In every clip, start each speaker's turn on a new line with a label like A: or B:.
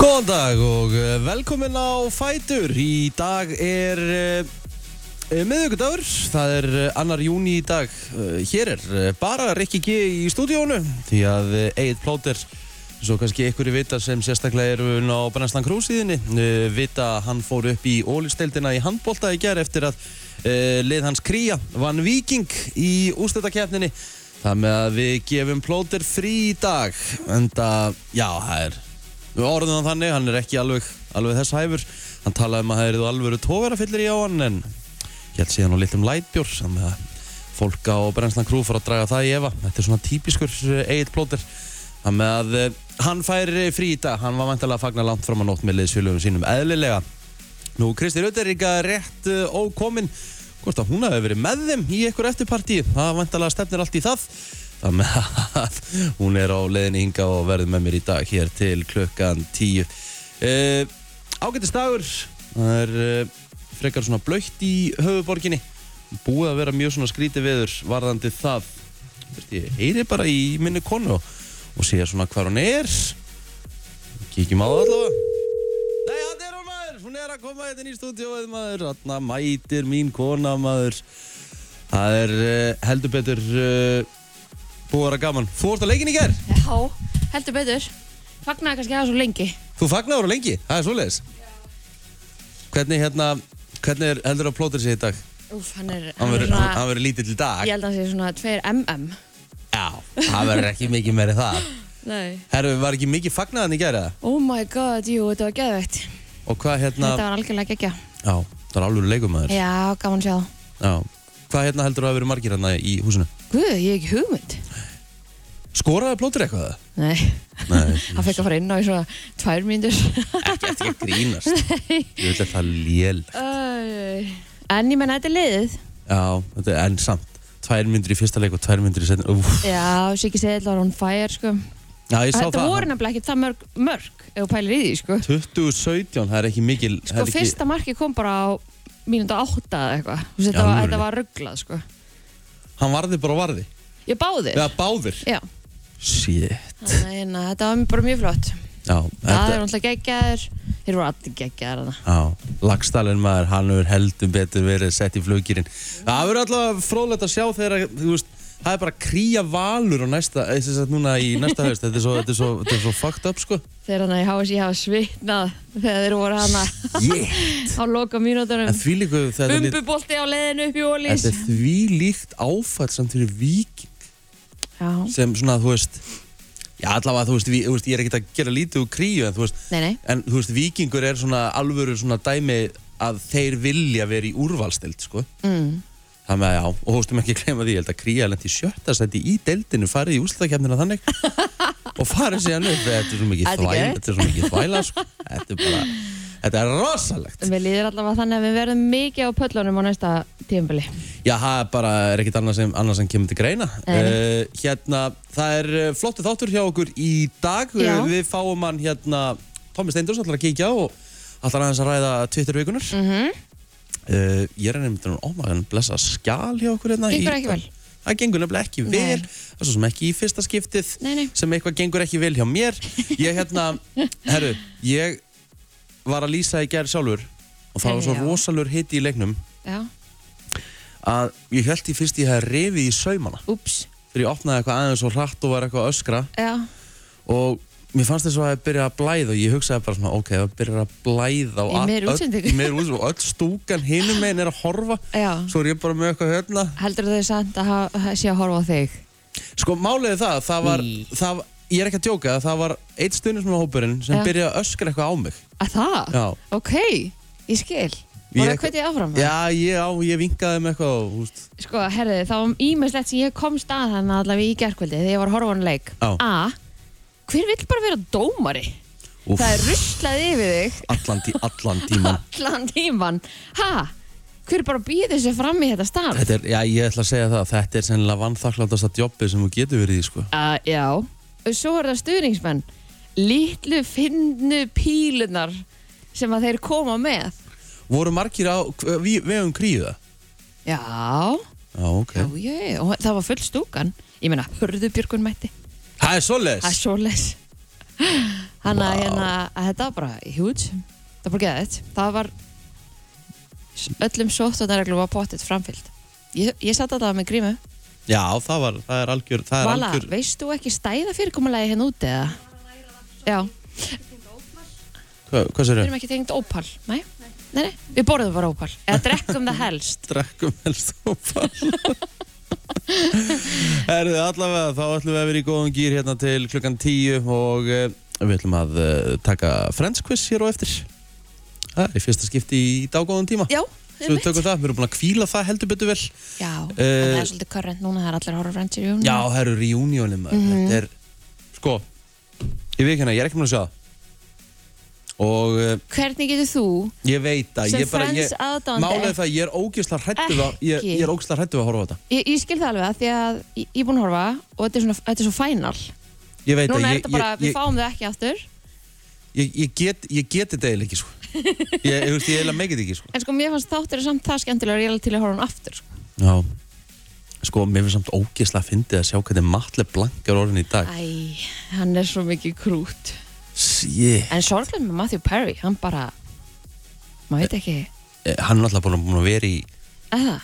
A: Góðan dag og eh, velkomin á Fætur. Í dag er uh, miðugudagur, það er eh, annar júni í dag. Uh, hér er uh, bara Rikki G í stúdíónu því að uh, Egil Plóter, svo kannski ykkur í vita sem sérstaklega eru á Brennstan Krúsíðinni, uh, vita að hann fór upp í ólisteildina í handbólta í gerð eftir að uh, lið hans Kría vann Viking í ústættakefninni. Það með að við gefum Plóter frí í dag, enda, já, það er Við orðum hann þannig, hann er ekki alveg, alveg þess hæfur. Hann talaði um að það eru alvöru tógarafillir í á hann en hér síðan á litlum lætbjór sem að fólk á Brennslan Crew fór að draga það í efa. Þetta er svona típiskur eigið plóter. Þannig að eh, hann fær eh, frí í dag, hann var vantilega að fagna langt fram að nótt með liðsfélögum sínum eðlilega. Nú, Kristi Rutt er líka rétt uh, ókomin Hvort að hún hafi verið með þeim í einhver eftirpartíu Það vantalega stefnir allt í það Þannig að hún er á leiðinni hinga og verður með mér í dag hér til klukkan tíu uh, Ágættis dagur Það er uh, frekar svona blöytt í höfuborginni Búið að vera mjög svona skrítið veður varðandi það Vist, Ég heyri bara í minni konu og, og sé svona hvar hún er Kíkjum á það allavega Nei, hann er hún maður, hún er að koma hérna í stúdíóið maður, hann mætir mín kona maður. Það er uh, heldur betur uh, búið að vera gaman. Þú vorst á leikin í gerð,
B: Já, heldur betur. Fagnaði kannski það svo lengi.
A: þú fagnar á lengi, það er svoleiðis. Hvernig hérna, hvernig er heldur að plóta sig í dag?
B: Úf, hann er,
A: Hann verður-
B: svona-
A: hann- hann verður lítill í dag.
B: ég held að hann sé svona 2 mm.
A: Já, það verður ekki mikið meiri það.
B: Nei.
A: Herru, var ekki mikið fagnaðan í gerð eða?
B: Oh my god, jú, þetta var geðveikt.
A: Og hvað hérna,
B: Þetta var algjörlega geggja.
A: já, það er alveg leikumadur.
B: Já, gaman sjá.
A: Já, hvað hérna heldur að hafa verið margir hérna í húsinu?
B: Guð, ég hef ekki hugmynd.
A: Skoraði plótur eitthvað? eða?
B: Nei,
A: Nei,
B: hann fekk að fara inn á í svona 2 mínútur.
A: ekki eftir að grínast ég vil að það er lél
B: Æ, en ég menna, þetta er liðið.
A: já, þetta er enn samt tvær myndir í fyrsta leik og tvær myndir í setna Úf.
B: Já, Siggi Seðl var on fire, sko.
A: já, ég sá
B: Þetta
A: það
B: voru nefnilega ekki það mörg, mörg, ef þú pælir í því, sko.
A: 2017, það er ekki mikil það
B: Sko,
A: er ekki,
B: fyrsta marki kom bara á mínútu átta eða eitthvað. Þú veist,
A: Í
B: Þetta var,
A: alvöru?
B: þetta var rugglað, sko.
A: hann varði bara varði
B: Ég báðir.
A: eða báðir
B: Já,
A: shit
B: þannig að hérna, þetta var bara mjög flott.
A: já,
B: Það er
A: þetta,
B: náttúrulega geggjaður, þeir voru allir geggjaðar þarna.
A: já, lagstælinn maður hann hefur heldur betur verið sett í flugirinn það verður alltaf frólægt að sjá þegar þú veist Það er bara að kríja valur á næsta, eða sem sagt núna í næsta haust, þetta er svo, þetta er svo, þetta er svo fucked up sko.
B: Þegar hann að ég hafa sér hafa svitnað þegar þeir voru hana
A: Yeah.
B: á loka mínútonum.
A: En því líku þetta lít-
B: Bumbubolti á leiðinu upp í ólís.
A: Þetta er því líkt áfall samt fyrir viking
B: Já,
A: sem svona, þú veist Já, allavega, þú veist, vi, þú veist ég er ekkert að gera lítið úr kríu en þú veist,
B: nei, nei.
A: en, þú veist vikingur er svona alvöru svona dæmi að þeir vilja vera í úrvalstild, sko
B: Mm.
A: Það með að já, og þú veistum ekki að gleyma því, ég held að kríja lendi sjötta sæti í deildinu, farið í úrslitakefnina þannig og farið síðan upp, þetta er svo mikið
B: Þetta er
A: þvæla,
B: geðveikt.
A: þetta er svo mikið þvæla, sko Þetta er bara, þetta er rosalegt
B: Við líður allavega þannig að við verðum mikið á pöllunum á næsta tímabili.
A: Já, það er bara er ekkert annað sem, annað sem kemur til greina.
B: Nei, nei.
A: Uh, hérna, það er eh, flottu þáttur hjá okkur í dag.
B: Já.
A: Eh, Við fáum hann hérna, Tómi Steindors ætlar að kíkja og ætlar aðeins að ræða Twitter vikunar. Mm
B: Mhm.
A: ég er nefndið hann ómagan blessa skjál hjá okkur hérna.
B: Gengur
A: í-
B: ekki vel.
A: Það gengur nefnilega ekki
B: Nei.
A: vel. Það er svo sem ekki í fyrsta skiptið
B: Nei, nei.
A: sem eitthvað gengur ekki vel hjá mér. Ég hérna, herru, ég var að lýsa í gerð sjálfur og það var svo
B: Já.
A: rosalur hiti í leiknum
B: Já,
A: að ég held í fyrst ég hef rifið í saumana
B: úps.
A: þegar ég opnaði eitthvað aðeins og hratt og var eitthvað að öskra
B: Já,
A: og mér fannst þess að það hefði byrjað að blæða og ég hugsaði bara svona, ok, það byrjar að blæða og
B: Í
A: all-
B: meiri
A: öll-
B: útsendingu.
A: í meiri útsendingu og öll stúkan hinum meginn er að horfa
B: já.
A: svo er ég bara með eitthvað hérna
B: Heldur þau samt að ha- að sé að horfa á þig?
A: sko, málið er það, það var
B: Í.
A: það, ég er ekki að djóka, það var eitt stundismannhópurinn sem
B: Já. Ah.
A: byrjaði að öskra eitthvað á mig
B: Að það?
A: já,
B: Ok, ég skil.
A: Ég-
B: Bara hvernig áfram?
A: já ég, á, ég vinkaði með eitthvað og, úst,
B: Sko, herriði, það var ímestlegt sem ég komst að þannig allavega í gerkvöldi þegar ég var að horfa á hann leik.
A: Já.
B: A. Hver vill bara vera dómari?
A: úf,
B: Það er ruslað yfir þig
A: allan, tí, allan tíman
B: allan tíman. Ha? Hver bara býður sér fram í þetta starf?
A: Þetta er, já, ég ætla að segja það, þetta er sennilega vannþakklandasta jobbið sem þú getur verið í, sko.
B: Uh, já. Og Svo er það stuðningsmenn. Lítlu finnu pílunar sem að þeir koma með.
A: Voru margir á, hv- við, við höfum kríu það?
B: Já.
A: Já, ok.
B: Já, já, já. Og það var full stúkan. Ég meina, hörðu Björgun mætti.
A: Það er svoleiðis.
B: Það er svo les. Þannig að hérna, að þetta var bara huge. Það var bara geðið. Það var öllum sóttvarnarreglum var pottitt framfyllt. Ég, ég satt að það með grímu.
A: Já, það var, það er algjör, það er
B: Vala,
A: algjör
B: veist þú ekki stæða fyrirkomulegi hérna úti eða? Já,
A: Hva, Hvað sér
B: við
A: þau?
B: erum ekki tengt ópal, nei? Nei, nei, við borðum bara ópal. Eða drekkum það helst.
A: Drekkum helst ópal Herðu, allavega þá ætlum við að vera í góðum gýr hérna til klukkan 10 og eh, við ætlum að eh, taka Friends quiz hér og eftir Það er í fyrsta skipti í daggóðan tíma
B: Já,
A: Svo við tökum það, við erum búin að kvíla það heldur betur
B: Já,
A: vel
B: það er svolítið körrent núna, það er allir horror friends í rjónu.
A: Eh, Já, það eru reunionin maður
B: Mhm.
A: Þetta er, sko Ég veit hérna, ég er ekki með að sjá það. Og uh,
B: Hvernig getur þú,
A: ég veit að
B: sem
A: ég bara ég,
B: friends
A: Málið
B: aðdándi,
A: er það, að ég er ógeðslega hrættu við, að- ég,
B: Ekki.
A: ég er ógeðslega hrættu við að horfa á þetta
B: Ég, ég skil það alveg að því að ég, ég er búin að horfa og þetta er, svona, þetta er svo final.
A: Ég veit
B: Núna
A: að
B: er
A: ég,
B: þetta bara,
A: ég,
B: við fáum þau ekki aftur.
A: ég, ég, get, ég get þetta eiginlega ekki, sko Ég, ég, veist, ég eiginlega megið ekki, sko
B: En sko, mér fannst þáttur samt það skemmtilega og ég er alveg til að horfa hún aftur. sko.
A: Já Sko, mér finnst samt ógeðslega að fyndi að sjá hvernig Matle Blank er orðin í dag
B: Æ, hann er svo mikið krút.
A: Sjé,
B: En sorglega með Matthew Perry, hann bara, maður veit ekki,
A: eh, hann er alltaf búin að- búin að vera í
B: eða.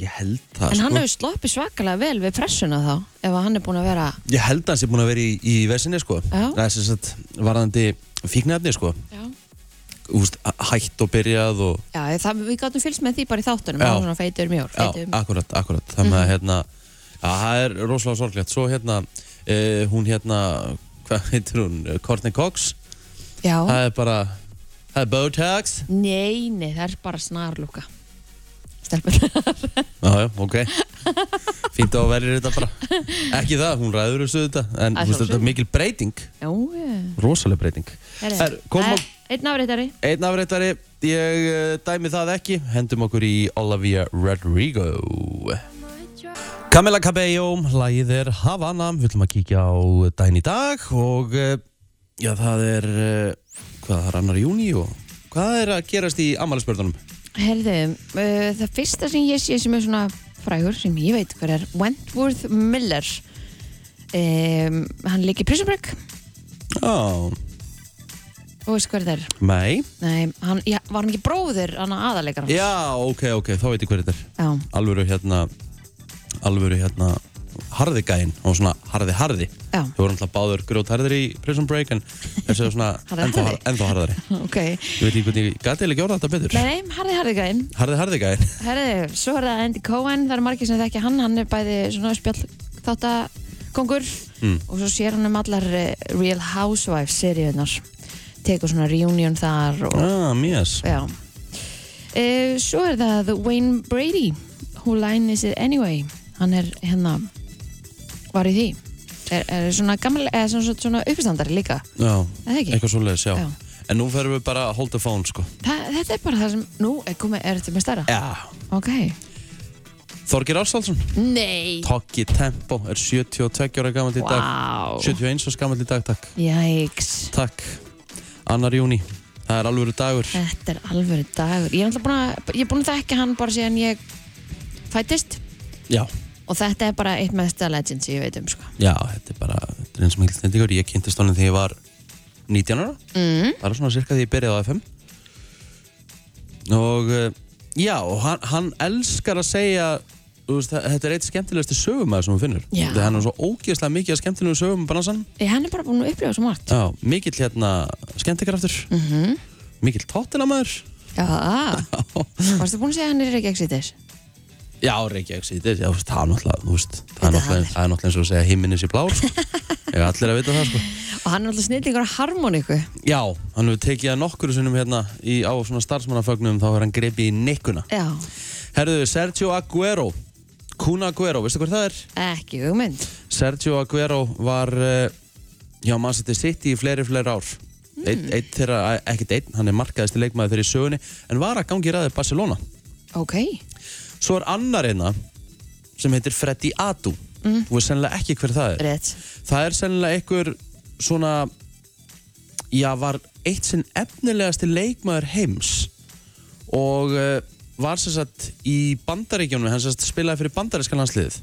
A: Ég held það,
B: En
A: sko
B: hann hefur sloppið svakalega vel við pressuna þá, ef að hann er búin að vera,
A: Ég held að hans er búin að vera í, í vesinni sko
B: Já.
A: Það er sem sagt varðandi fíknefni sko
B: já,
A: Úst, Hætt og byrjað og
B: já það, við gáttum fylgst með því bara í þáttunum,
A: Já.
B: hann var svona feitur mjór, feitur
A: Já, akkurat, akkurat Þannig
B: Mhm.
A: að hérna já, Það er rosalega sorglegt Svo hérna eh, Hún hérna Hvað heitir hún? Courtney Cox
B: Já,
A: Það er bara Það er Botox
B: nei, nei, það er bara snarlúka. Stelpur.
A: Já, já, ok Fínt á að verður þetta bara Ekki það, hún ræður þessu þetta
B: Að
A: En þú veist, þetta
B: sjálfsögðu.
A: er mikil breyting
B: Já, já.
A: Rosalega breyting
B: Herri,
A: Herru, komum á-
B: eh, Einn afriðari
A: Einn afréttari, ég eh, dæmi það ekki, hendum okkur í Olivia Rodrigo. Camila Cabello, lagið er Havana, við ætlum að kíkja á dæn í dag og eh, já, það er, eh, hvað það er annar júni og hvað er að gerast í amalispörðunum?
B: Herðu, uh, það fyrsta sem ég sé sem er svona frægur sem ég veit hver er Wentworth Miller um, Hann leik í Prison Break
A: Já,
B: og veist hver það er
A: mei.
B: Nei, hann, já, var hann ekki bróðir hann aðalega hans?
A: Já, ok, ok, þá veit ég hver þetta er.
B: Já,
A: Alvöru hérna, alvöru hérna, harði gæinn og svona harði harði.
B: já,
A: Þau voru alltaf báður grjótharðir í Prison Break en þessi er svona
B: Harðari,
A: ennþá,
B: harðari.
A: ennþá harðari.
B: ok
A: Ég veit ekki hvernig, ég gæti eiginlega ekki orða þetta betur.
B: Nei, nei, harði harði gæinn
A: Harði harði gæðin.
B: Herðu, svo er það Andy Cohen það er margir sem þekki hann, hann er bæði svona spjall þáttakongur
A: Mm.
B: og svo sér hann um allar eh, Real Housewives seríunar tekur svona reunion þar og
A: Ah, mjög.
B: Já. Uh, svo er það Wayne Brady Who Line Is It Anyway Hann er hérna var í því er, er svona, gammal, er svona, svona uppistandari líka
A: Já,
B: er það ekki?
A: eitthvað svoleiðis, já.
B: Já.
A: En nú ferum við bara að hold the phone, sko.
B: Þa, þetta er bara það sem nú er komið er þetta með stærra
A: Já.
B: ok
A: Þorgir Ársálsson,
B: nei
A: Tokki Tempo, er 72 ára gammal í dag.
B: wow
A: 71 ára gammal í dag, takk.
B: jæks
A: Takk. Annar júni, það er alvöru dagur.
B: þetta er alveg dagur ég er alltaf búin að ég er búin að þekka hann bara síðan ég fættist
A: Já,
B: og þetta er bara eitt mesta legend sem ég veit um sko
A: já, þetta er bara, þetta er eins og mikil snendingur. Ég kynntist honum þegar ég var 19 ára.
B: mm.
A: bara svona cirka því ég byrjaði á FM og eh, já, og hann, hann elskar að segja þú veist, þa- þetta er eitt skemmtilegasti sögumæður sem hún finnur
B: Já.
A: þetta hann er svo ógeðslega mikið að skemmtilegum sögum bransan,
B: ég, hann er bara búin að upplifa svo margt
A: já, Mhm. mikill hérna skemmtikraftur,
B: mm
A: mikill tóttinamæður
B: Já, varstu búin að segja að hann er Reykjavík-sýtis?
A: já, Reykjavík City, já, þú veist, það er náttúrulega þú veist, það er
B: Þetta
A: náttúrulega,
B: hann er.
A: það er náttúrulega eins og að segja himminni sér blár, sko ég er allir að vita það, sko
B: Og hann er alltaf snillingur á harmoníku.
A: já, hann hefur tekið að nokkuru sinnum hérna í, á svona starfsmannafögnum, þá er hann grepið í nikkuna
B: Já,
A: Herðu, Sergio Aguero Kun Aguero, veistu hver það er?
B: ekki hugmynd.
A: Sergio Aguero var uh, já, mann setið sitt í fleiri, fleiri ár
B: Hmm.
A: Eitt, eitt þeirra, eh, ekkert einn, hann er markaðist í leikmaði þeirri í sögunni en var að gangi ræði Barcelona
B: Ok.
A: Svo er annar einna sem heitir Freddy Adu
B: Mm.
A: Þú veist sennilega ekki hver það er
B: Rétt.
A: Það er sennilega einhver svona já, var eitt sinn efnilegasti leikmaður heims og uh, var sem sagt í bandaríkjónum, hann sem sagt spilaði fyrir bandaríska landsliðið.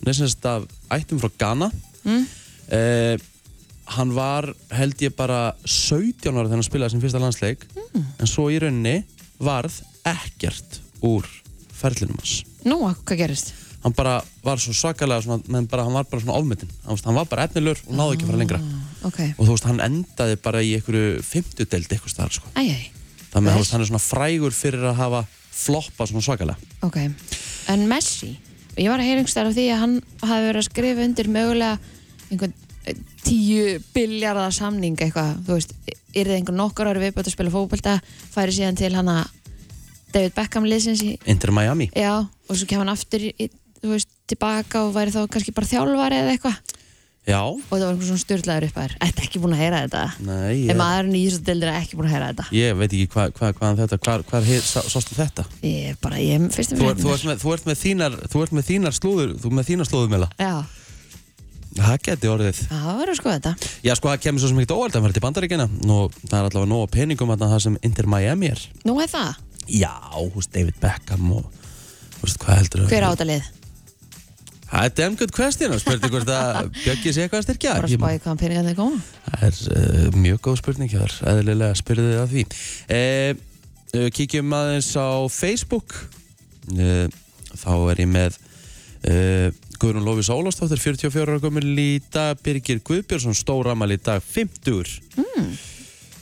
A: Hann er sem sagt af ættum frá Ghana.
B: Mm.
A: Uh, hann var held ég bara 17 ára þegar hann spilaði sin fyrsta landsleik en svo í rauninni varð ekkert úr ferlinum hans
B: Nú, hvað gerist?
A: hann bara var svo svakalega svona, menn bara, hann var bara svona ofmyndin hann veist, hann var bara efnilur og náði ekki að fara lengra
B: Ok,
A: og þú veist, hann endaði bara í einhverju fymtudeld eitthvað staðar sko.
B: æj, æj,
A: þannig að þú veist, hann er svona frægur fyrir að hafa floppað svona svakalega
B: ok En Messi, ég var að heyra einhverstaðar af því að hann hafi verið að skrifa undir mögulega einhvern eh, tíu biljarða samning eitthvað, þú veist er það einhver nokkur ári viðbætt að spila fótbolta færi síðan til hann að David Beckham liðsins í,
A: Inter Miami
B: já, og svo kemur hann aftur í, þú veist, tilbaka og væri þá kannski bara þjálfari eða eitthvað
A: já,
B: og það var einhver svona styrlaður upphæður Þetta ekki búin að heyra þetta
A: nei,
B: En
A: ég,
B: maðurinn í þessu deildir er ekki búin að heyra þetta
A: ég veit ekki hvað hva, hva, hvaðan þetta hvað hva, hva, sástu þetta
B: Ég er bara, ég er fyrst um
A: þú, er, þú, ert með, þú, ert með þínar, þú ert með þínar slúður þú ert með þínar slúðumela
B: Já,
A: það geti orðið
B: já, það verður sko þetta
A: já, sko, það kemur svo sem ekkert óvælt að vera til bandaríkina og það er allavega nóg af peningum að það sem Inter Miami er
B: Nú er það,
A: já, þú veist, David Beckham og þú veist, hvað heldur
B: hver á þetta lið?
A: Það er damn good question, spurning hvort að Bjöggi sé eitthvað að styrkja
B: Bara að
A: Ég-
B: spá í hvaðan peningarnir koma
A: Það er uh, mjög góð spurning hér, eðlilega spyrðu þið að því. Uh, uh, kíkjum aðeins á Facebook, uh, þá er ég með uh, Guðrún Lófís Ólafsdóttir, 44 ára gömul í dag, Birgir Guðbjörnsson, stóramal í dag, 50. Mm.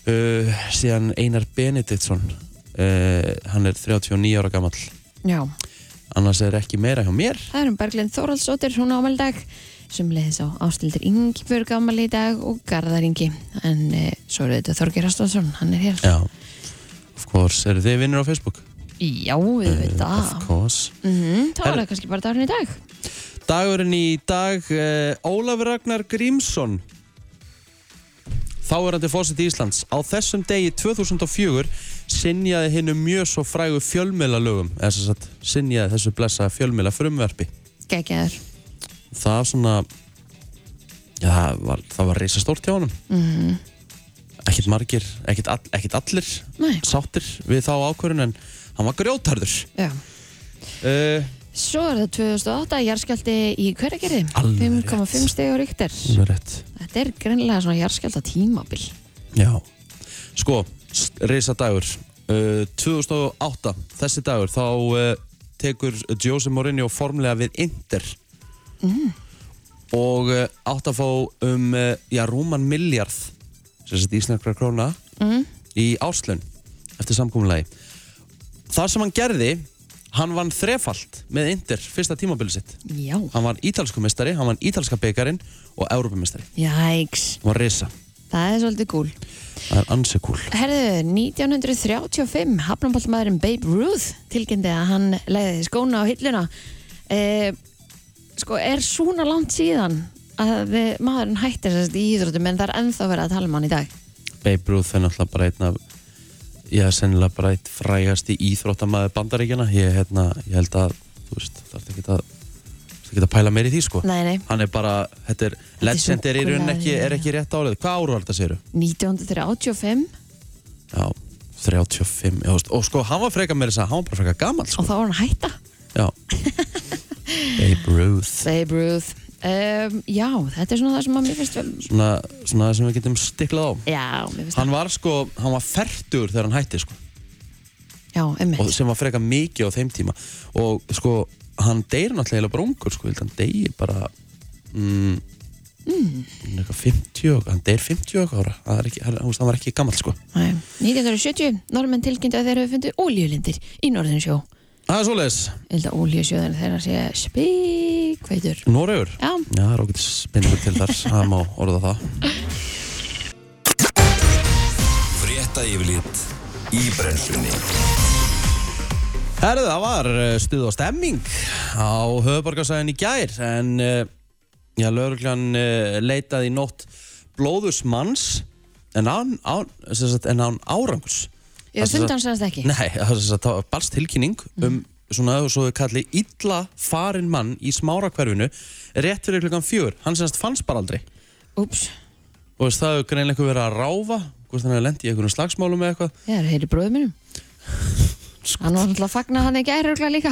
A: Uh, síðan Einar Benediktsson, uh, hann er 39 ára gammal,
B: Já,
A: annars er ekki meira hjá mér.
B: það er um Berglind Þóraldsóttir, hún á ámæli dag sem leiðis á ástildir Ingebjörg ámæli í dag og Garðar Ingi en e, svo er þetta Þorgir Astónsson, hann er hér
A: Já, of course, eru þið vinnir á Facebook?
B: Já, við veit það
A: Of course.
B: Mhm, Það var
A: Herru.
B: það kannski bara dagurinn í dag
A: Dagurinn í dag uh, Ólaf Ragnar Grímsson Þáverandi fósitt Íslands á þessum degi 2004 sinjaði hinnu mjög svo frægu fjölmiðlalögum eða sem sagt sinjaði þessu blessa fjölmiðla frumverfi
B: Gækjaður
A: það svona já, það var, það var reisa hjá honum
B: Mhm.
A: ekkert margir, ekkert, all, ekkert allir
B: Nei,
A: sáttir við þá ákvörun en hann var grjótarður
B: já
A: uh,
B: Svo er það 2008, jarðskjálti í Hveragerði,
A: Alveg
B: 5,5 steg á ríktir.
A: sem er rétt
B: Þetta er greinlega svona jarðskjálta tímabil.
A: Já, sko, reysa dagur uh, 2008, þessi dagur þá uh, tekur Jose Mourinho formlega við Inter
B: Mm,
A: og uh, átt að fá um uh, já, rúman miljard sem sett íslenskra króna
B: Mm.
A: í áslun eftir samkominlegi Það sem hann gerði, hann vann þrefalt með Inter fyrsta tímabili sitt
B: Já.
A: Hann var ítalsku mestari, hann vann ítalska byggarinn og Európumestari,
B: Jæks,
A: hann var reysa
B: það er svolítið gúl.
A: Það er ansi kúl
B: Herðu, 1935, hafnaboltmaðurinn Babe Ruth tilkynnti að hann leiði skóna á hilluna. E, sko, er svona langt síðan að eh, maðurinn hættir sérst í íþróttum en það er ennþá verið að tala um hann í dag.
A: Babe Ruth er náttúrulega bara einn af ég er sennilega bara einn frægasti íþróttamaður bandaríkjana ég, hérna, ég held að þú veist, það er ekki að það er ekki að pæla meir í því sko
B: Nei, nei,
A: hann er bara, þetta er,
B: er
A: legend er í rauninni ekki,
B: súkkulaði.
A: er ekki rétt árið, hvað áru var þetta séru?
B: 1935
A: Já, 35 já, þú veist, og sko, hann var freka meira þess að hann var bara freka gammal sko.
B: og þá var hann að hætta.
A: já Babe Ruth
B: Babe Ruth um, Já, þetta er svona það sem að mér finnst um,
A: svona, svona sem við getum stiklað á
B: Já, mér finnst
A: hann var sko, hann var færtur þegar hann hætti sko
B: það Já, emmi
A: og sem var freka mikið á þeim tíma og sko, hann deyr náttúrulega bara ungur sko, ég held að hann deyr bara mm, mm. 50, og- hann deyr 50 og eitthvað ára það er ekki, hann, hann var ekki gammal sko
B: 1970, normenn tilkynntu að þeir hafa fundið ólíulindir í norðinsjó
A: Það er svoleiðis,
B: Ég held að ólíusjóðan þeirra sé spíkveitur
A: Noregur
B: Já,
A: Já, það er okkur spinningur til þar, það má orða það
C: Frétta yfirlit í brennslunni
A: Herðu, það var eh, stuð og stemming á höfuborgarsæðin í gær en eh, já, lauruglan eh, leitaði í nótt blóðus manns en án, án, sem sagt, en án árangurs
B: ég
A: Það sem
B: fundi hann sannast ekki Mhm.
A: Nei, það er þess að það barst tilkynning um svona, svo þau kalli, illa farinn mann í smárakverfinu rétt fyrir klukkan fjör. Hann semst fannst bara aldrei.
B: Úps,
A: Og veist, það hefur greinlega einhver verið að ráfa, hvort hann hefur lendið í einhverjum slagsmálum eða eitthvað.
B: ég er að heyri bróðum mínum
A: Sko.
B: Hann var náttúrulega að fagna hann ekki æruglega líka.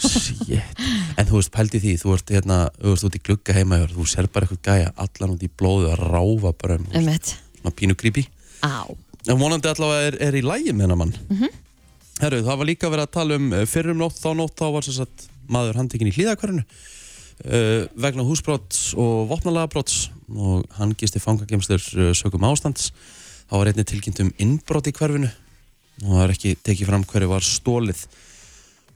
A: Shit. En þú veist, pældi því, þú ert hérna, þú ert út í glugga heima hjá þér, þú ser bara eitthvað gæja allan út í blóðu að ráfa bara um,
B: Um eitt.
A: svona pínu creepy.
B: Á. Mhm.
A: En vonandi allavega er, er í lægi með hennar mann. Herru, það var líka verið að tala um eh, fyrr um nótt, þá nótt, þá var sem sagt maður handtekinn í hlýðakvarinu uh, vegna húsbrots og vopnalagabrots og hann gisti fangagemstur uh, sögum ástands. Það var einnig tilkynnt um innbrot í hverfinu og það er ekki tekið fram hverju var stólið.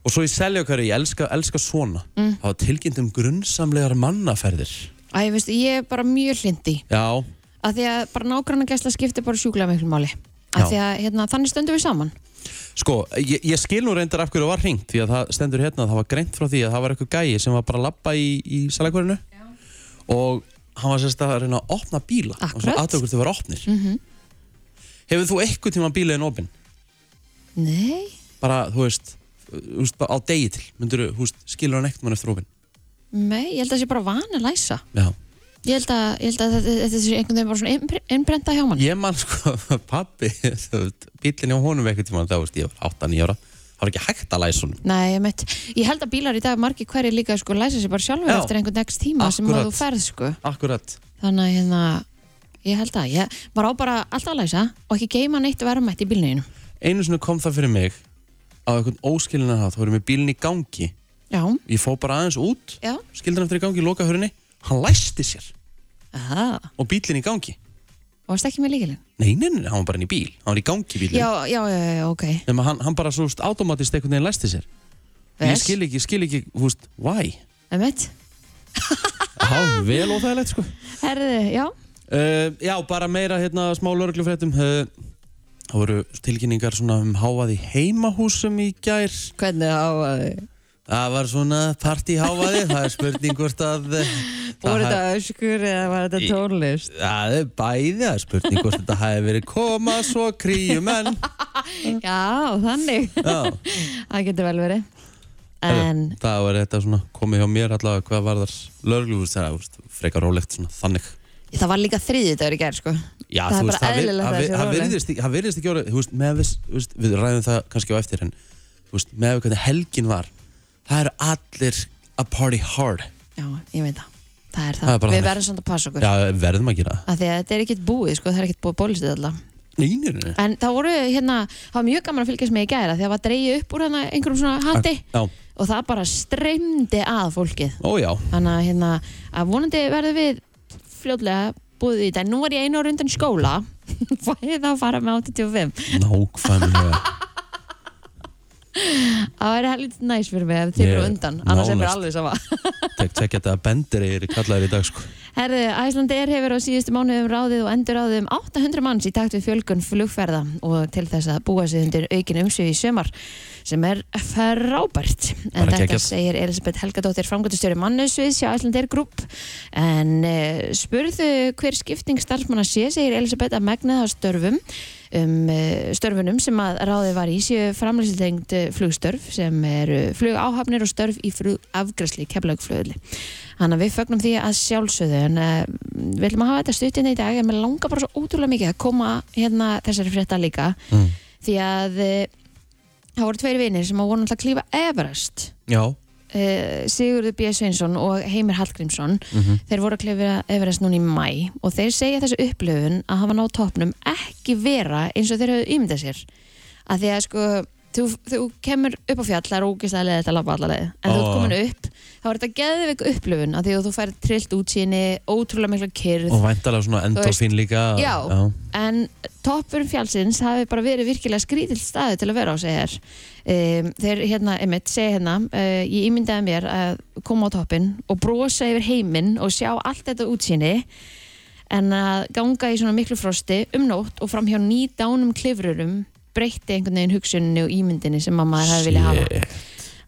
A: Og svo í selja hverju, ég elska, elska svona,
B: Mm.
A: það var tilkynnt um grunnsamlegar mannaferðir.
B: Æ, veistu, ég er bara mjög hlindi.
A: Já,
B: Af því að bara nágranna gæsla skiptir bara sjúklega miklu máli. Af
A: Já.
B: því að hérna, þannig stöndum við saman.
A: Sko, ég, ég skil nú reyndar af hverju það var hringt því að það stendur hérna að það var greint frá því að það var eitthvað gæi sem var bara að labba í, í salakverinu og hann var sérst að reyna að opna bíla og svo
B: Akkurat.
A: aðtökur þau var opnir
B: Mm
A: Hefur þú eitthvað tíma bílaðin opinn?
B: Nei,
A: Bara, þú veist, þú veist, bara á degi til myndur þú, veist, skilur hann ekkert mann eftir opinn
B: nei, ég held að það sé bara van að læsa.
A: Já.
B: Ég held að, ég held að þetta, þetta sé einhvern veginn bara svona innbre- innprenta hjá mann.
A: Ég man sko, pappi bílinn hjá honum eitthvað tíma þá veist, ég var 8-9 ára það var ekki hægt að læsa honum
B: Nei, ég mitt. Ég held að bílar í dag margir hverjir líka sko læsa sér bara sjálfur
A: Já.
B: eftir einhvern next tíma sem að
A: Akkurat.
B: þú ferð sko.
A: Akkurat
B: Þannig að hérna, ég held að, ég var á bara alltaf að læsa og ekki geima neitt verðmætt í bílninu.
A: Einu sinni kom það fyrir mig á einhvern óskilina þá vorum við bílinn í gangi
B: Já,
A: ég fó bara aðeins út
B: já.
A: skildan eftir í gangi, loka hörunni hann læsti sér
B: Aha.
A: og bílinn í gangi
B: Og varst ekki með líkilinn?
A: nei, nei, nei, hann var bara inn í bíl, hann var í gangi bílinn
B: Já, já, já, já, ok.
A: nema hann, hann bara svo veist, automatist einhvern veginn læsti sér
B: Vel.
A: ég skil ekki, ég skil ekki, þú veist, why
B: Það mitt.
A: há, vel óþægilegt sko
B: Herðu, já.
A: uh, já, bara meira hérna smá lörglufréttum uh, það voru tilkynningar svona um háað í heimahúsum í gær
B: Hvernig háaði?
A: það var svona partíhávaði það er spurning hvort að eh, það
B: Voru
A: hafi-
B: þetta öskur eða var þetta
A: Í-
B: tónlist?
A: Það er bæði að spurning hvort þetta hafi verið koma svo kríum en
B: Já, þannig.
A: Já,
B: Það getur vel verið. En,
A: það var þetta svona komið hjá mér allavega hvað var þar lörglúfust þegar þú veist, frekar rólegt svona þannig
B: það var líka þriðið dagur í gerð, sko.
A: Já,
B: Það er
A: þú
B: bara
A: það vir-
B: eðlilegt að
A: það vir-
B: það sé
A: það
B: rólegt.
A: virðist ekki- það virðist ekki orðið, þú veist, með við, þú veist, við ræðum það kannski á eftir en þú veist, með við hvernig helgin var það eru allir að party hard
B: Já, ég veit það. Það er það.
A: Það er bara
B: Við
A: þannig.
B: verðum samt að passa okkur.
A: Já, verðum að gera það
B: Af því að þetta er ekkert búið, sko. Það er ekkert búið bólistið alltaf.
A: Nýnir
B: En það voru, hérna, það var mjög gaman að fylgjast með í gæra því að það var dreigið upp úr hérna einhverjum svona hatti
A: Já,
B: og það bara streymdi að fólkið.
A: ó já,
B: Þannig að, hérna, að vonandi verðum við fljótlega búið í þetta. Nú var ég einu ára undan skóla, fæði það að fara með 85.
A: nákvæmlega
B: Það væri helviti næs fyrir mig ef þið
A: Ég-
B: eru undan, annars er mér
A: nánast.
B: alveg sama.
A: Tek, tek þetta að bendir eru kallaðir í dag sko
B: Herðu, Æslandeir hefur á síðustu mánuðum ráðið og endur ráðið um 800 manns í takt við fjölgun flugferða og til þess að búa sig undir aukin umsvið í sömar sem er frábært. En
A: Bara
B: þetta
A: geggjað.
B: segir Elisabeth Helgadóttir framgöndustjóri mannusviðs hjá Æslandeir Group. En uh, spurðu hver skipting starfsmanna sé, segir Elisabeth að megnaða störfum um eh, störfunum sem að ráðið var í séu framlýsildengd flugstörf sem eru flugáhafnir og störf í flugafgræsli keflaugflöðli. Þannig að við fögnum því að sjálfsögðu en uh, við viljum að hafa þetta stuttin í dag en mér langar bara svo ótrúlega mikið að koma hérna þessari frétta líka
A: mm.
B: því að uh, það voru tveir vinir sem að voru náttúrulega að klífa Everest
A: Já,
B: uh, Sigurður B. Sveinsson og Heimir Hallgrímsson
A: mm
B: þeir voru að klifja Everest núna í mæ og þeir segja þessu upplöfun að hafa náð toppnum ekki vera eins og þeir höfðu ímyndað sér að því að sko þú, þú kemur upp á fjall, það er ógeðslega leðið að labba alla leið, en þú
A: Ó.
B: ert komin upp þá er þetta geðveik upplöfun að því að þú færi trillt útsýni, ótrúlega mikla kyrð
A: og væntalega svona endorfín líka
B: Já. en toppurum fjallsins hafi bara verið virkilega skrítill staði til að vera á segir um, þeir hérna, einmitt, segja hérna uh, ég ímyndaði mér að koma á toppin og brosa yfir heiminn og sjá allt þetta útsýni en að ganga í svona miklu frosti um nótt og framhjá nýdánum klifrurum breytti einhvern veginn hugsunni og ímyndinni sem mamma þær hefði vilja hafa
A: Shit.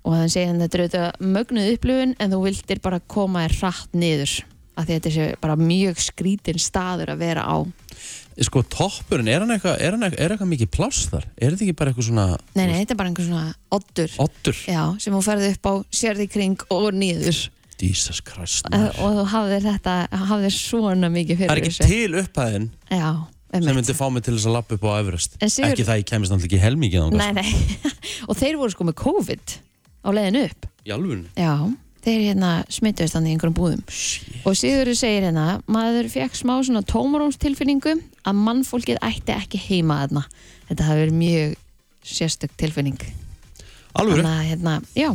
B: og hann segir hann þetta er auðvitað mögnuð upplifun en þú vildir bara koma þér hratt niður af því að þetta er bara mjög skrítin staður að vera á
A: Sko toppurinn, er hann eitthvað er, hann eitthvað- er eitthvað mikið pláss þar? Er þetta ekki bara eitthvað svona
B: Nei, nei, þetta er bara einhver svona oddur
A: Oddur?
B: Já, sem hún ferði upp á, sérði kring og niður
A: Jesus Christ
B: Eh,
A: maður.
B: og þú hafðir þetta, hafðir svona mikið
A: Það er
B: fyrir
A: ekki til upphæðin
B: Já,
A: sem myndi fá mig til þess að lappa upp á Everest
B: En Sigur-
A: ekki það ég kemist náttúrulega ekki helmingi þangað, sko.
B: Nei, nei. og þeir voru sko með COVID á leiðin upp.
A: sko. í alvun
B: Já, þeir hérna smittuðist þannig í einhverjum búðum. Og Sigurður segir hérna, maður fekk smá svona tómarúmstilfinningu að mannfólkið ætti ekki heima þarna. Þetta hafi verið mjög sérstök tilfinning.
A: alvöru,
B: Þannig að, hérna, já.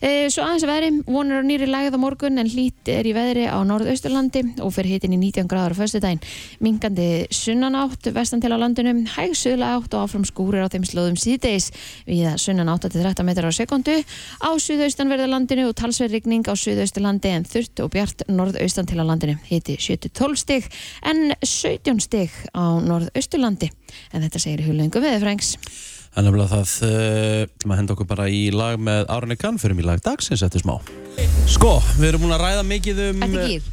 B: E, svo aðeins að veðri, vonur á nýri lagið á morgun en hlýtt er í veðri á norðausturlandi og fyrir hitin í 19 gráður á föstudaginn. Mingandi sunnanátt, vestan til á landinu, hæg suðla átt og áfram skúrir á þeim slóðum síðdeis við að sunnanátt til 13 metrar á sekundu á suðaustanverða landinu og talsverðrigning á suðausturlandi en þurft og bjart norðaustan til á landinu. Hiti 7-12 stig en 17 stig á norðausturlandi. En þetta segir hulungu veðurfrængs.
A: en nefnilega það uh, maður henda okkur bara í lag með Árni Kann fyrir mig í lag dagsins eftir smá sko, við erum búin að ræða mikið um
B: Þetta gýr.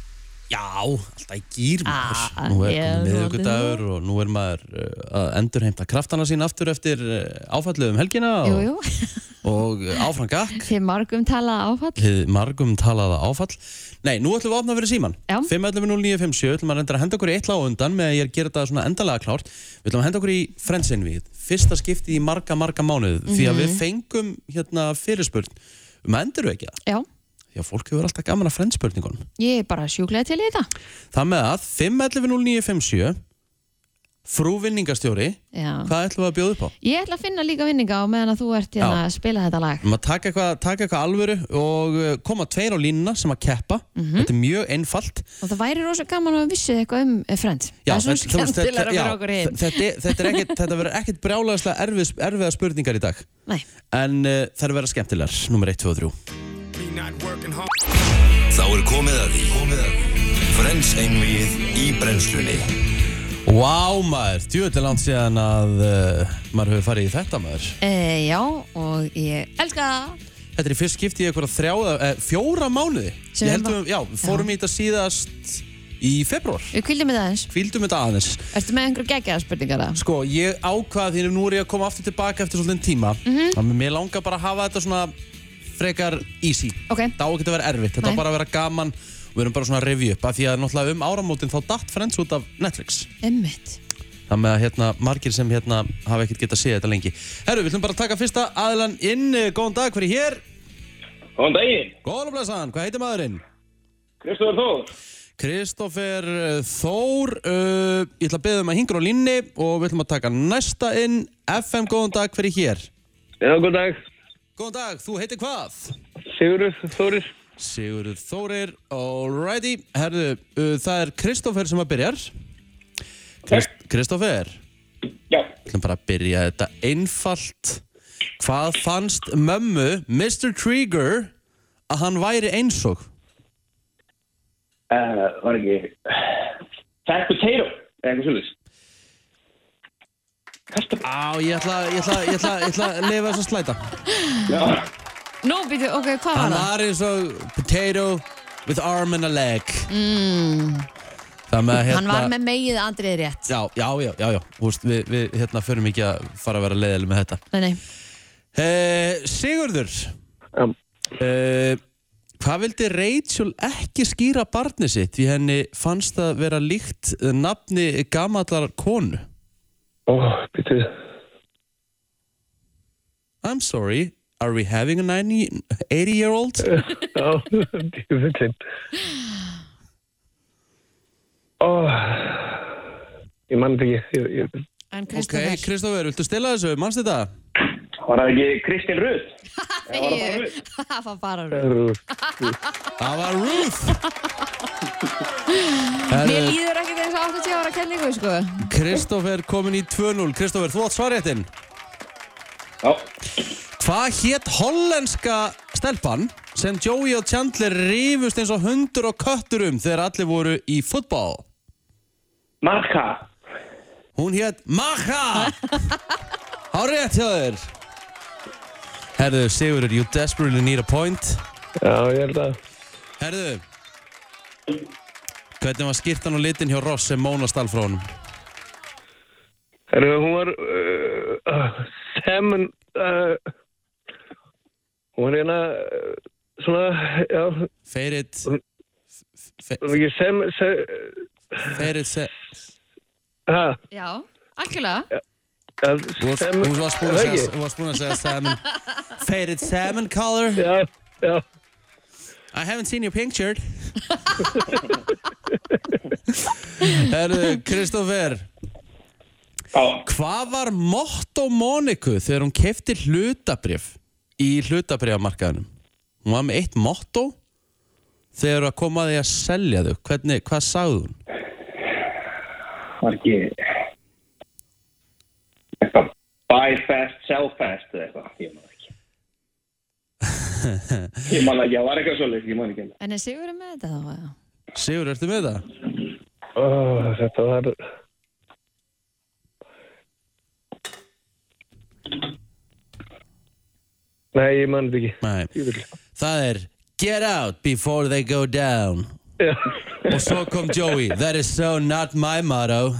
A: já, alltaf í gýr maður.
B: Ah,
A: nú er
B: ég
A: komin
B: er
A: miðugur dagur og nú er maður uh, að endurheimta kraftana sín aftur eftir uh, áfallið um helgina
B: Jú,
A: og,
B: jú.
A: og uh, áfram gakk
B: Þið margum talað áfall
A: hið margum talaða áfall Nei, nú ætlum við að opna fyrir síman
B: Já.
A: 5.11.09.57, ætlum að reynda að henda okkur í eitt lág undan með að ég er að gera þetta svona endalega klárt Við ætlum að henda okkur í frendsin við Fyrsta skipti í marga, marga mánuð Því að
B: Mhm.
A: við fengum hérna fyrirspurn um að endur við ekki það
B: Já,
A: Því að fólk hefur alltaf gaman að frendspurningunum
B: ég er bara sjúklega til í þetta
A: Það með að 5.11.09.57 Frú vinningastjóri
B: Já.
A: Hvað ætlum við að bjóða upp á?
B: Ég ætla að finna líka vinninga á meðan að þú ert
A: Já.
B: hérna að spila þetta lag
A: Við erum að taka eitthvað, taka eitthvað alvöru og uh, koma tveir á línuna sem að keppa
B: Mhm.
A: Þetta er mjög einfalt
B: Og það væri rosa gaman að vissu eitthvað um eh, Friends Það
A: Já,
B: er svona
A: þetta- þú veist, þetta-
B: skemmtilega
A: já,
B: fyrir okkur hinn
A: þe- Þetta, er- þetta, er ekkit- þetta verður ekkert brjálaðislega erfið, erfiða spurningar í dag
B: Nei,
A: En uh, það verður skemmtilegar, nummer 1, 2 og 3
C: Þá er komið að því Komið að því Frens einvið í brennslunni
A: Vá maður, djúvöldi langt síðan að uh, maður hefur farið í þetta maður
B: e, já, og ég elska það
A: Þetta er í fyrst skipti í eitthvað þrjá, eh, fjóra mánuði
B: Sem
A: Ég
B: við
A: heldum, já, við fórum í þetta síðast í februar
B: Við kvíldum þetta aðeins
A: Hvíldum þetta aðeins
B: Ertu með einhver geggjaða spurningar það?
A: Sko, ég ákvað því að nú er ég að koma aftur tilbaka eftir svolítið tíma
B: Mhm.
A: mm -hmm. Mér langar bara að hafa þetta svona frekar easy
B: Ok.
A: Það á ekki að vera erfitt, þetta
B: Nei.
A: á bara að vera gaman og við erum bara svona að revja upp af því að náttúrulega um áramótin þá datt Friends út af Netflix
B: Einmitt
A: Það með að hérna, margir sem hérna hafa ekkert getað séð þetta lengi Herru, við ætlum bara að taka fyrsta aðlan inn Eh, Góðan dag, hver er hér?
D: Góðan daginn,
A: Góðan og blessaðan, hvað heitir maðurinn?
D: Kristófur Þór.
A: Kristoffer eh, Þór uh, Ég ætla að beða um að hingra á línni og við ætlum að taka næsta inn FM, góðan dag, hver er hér?
D: Já, góðan dag.
A: Góðan dag, þú heitir hvað?
D: Sigurður Þórir.
A: Sigurður Þórir, alrighty Herðu, uh, það er Kristoffer sem að byrjar Krist Kristoffer Við
D: Já.
A: ætlum bara að byrja þetta einfalt Hvað fannst mömmu Mr. Trigger að hann væri eins og?
D: Uh, var ekki... Fat potato. Eða eitthvað svolítið.
A: Á, ég ætla, ég ætla, ég ætla, ég ætla að lifa þess að slæta
D: Já.
B: Nú, býtu, ok, hvað var
A: Hann
B: það?
A: var eins og potato with arm and a leg mm. Það með hérna
B: Hann var með megið andrið rétt
A: Já, já, já, já, já. Þú Veist, við, við hérna förum ekki að fara að vera leiðileg með þetta
B: Nei, nei,
A: Eh, Sigurður
D: Um,
A: eh, Hvað vildi Rachel ekki skýra barni sitt því henni fannst það vera líkt eh, nafni gamallar konu
D: ó, býttu.
A: I'm sorry, are we having a 90, 80 year old?
D: Já, djúfullinn. Ó, ég mann þetta ekki. Ég, ég...
B: en
A: Ok,
B: Kristoffer
A: Kristoffer, viltu stila þessu, mannst þetta?
D: Var það ekki Kristín Rutt?
B: Ég- Það var bara rúð.
A: sko. Það var Ruth Herru,
B: Mér líður ekki þegar 80 ára kenningu, sko
A: Kristoffer komin í 2-0 Kristoffer, þú átt svaréttin
D: Já.
A: Hvað hétt hollenska stelpan sem Joey og Chandler rífust eins og hundur og köttur um þegar allir voru í fútbol?
D: Marka.
A: Hún hétt Maha! Hárétt hjá þér! Herðu, Sigurður, you desperately need a point.
D: Já, ég held að.
A: Herðu, hvernig var skýrtan og litin hjá Ross sem Móna stal frá honum?
D: Herru, hún var uh, uh, Salmon uh, Hún var hérna uh, Svona, já
A: Feirit...
D: Hún var ekki Salmon se,
A: Feirit...
D: Ha,
B: Já, algjörlega.
D: að
A: Þú varst-
D: salmon-
A: þú varst búin að segja-
D: Ekki?
A: þú varst búin að segja salmon Faded salmon color
D: Já, já,
A: I haven't seen your picture Herðu, Kristoffer
E: Já,
A: Hvað var motto Moniku þegar hún kefti hlutabrif í hlutabrifamarkaðunum? Hún var með eitt motto þegar hún kom að því að selja þau. Hvernig, hvað sagði hún?
E: var ekki eitthvað buy fast, sell fast eða eitthvað, ég man það ekki ég man það ekki, það var eitthvað svolítið, ég man ekki
B: En er Sigur með þetta þá? eða?
A: Sigur, ertu með það?
D: Ó, þetta var Nei, ég mann þetta ekki
A: Nei.
D: Ég vil-
A: Það er Get out before they go down.
D: Já,
A: Og svo kom Joey. That is so not my motto.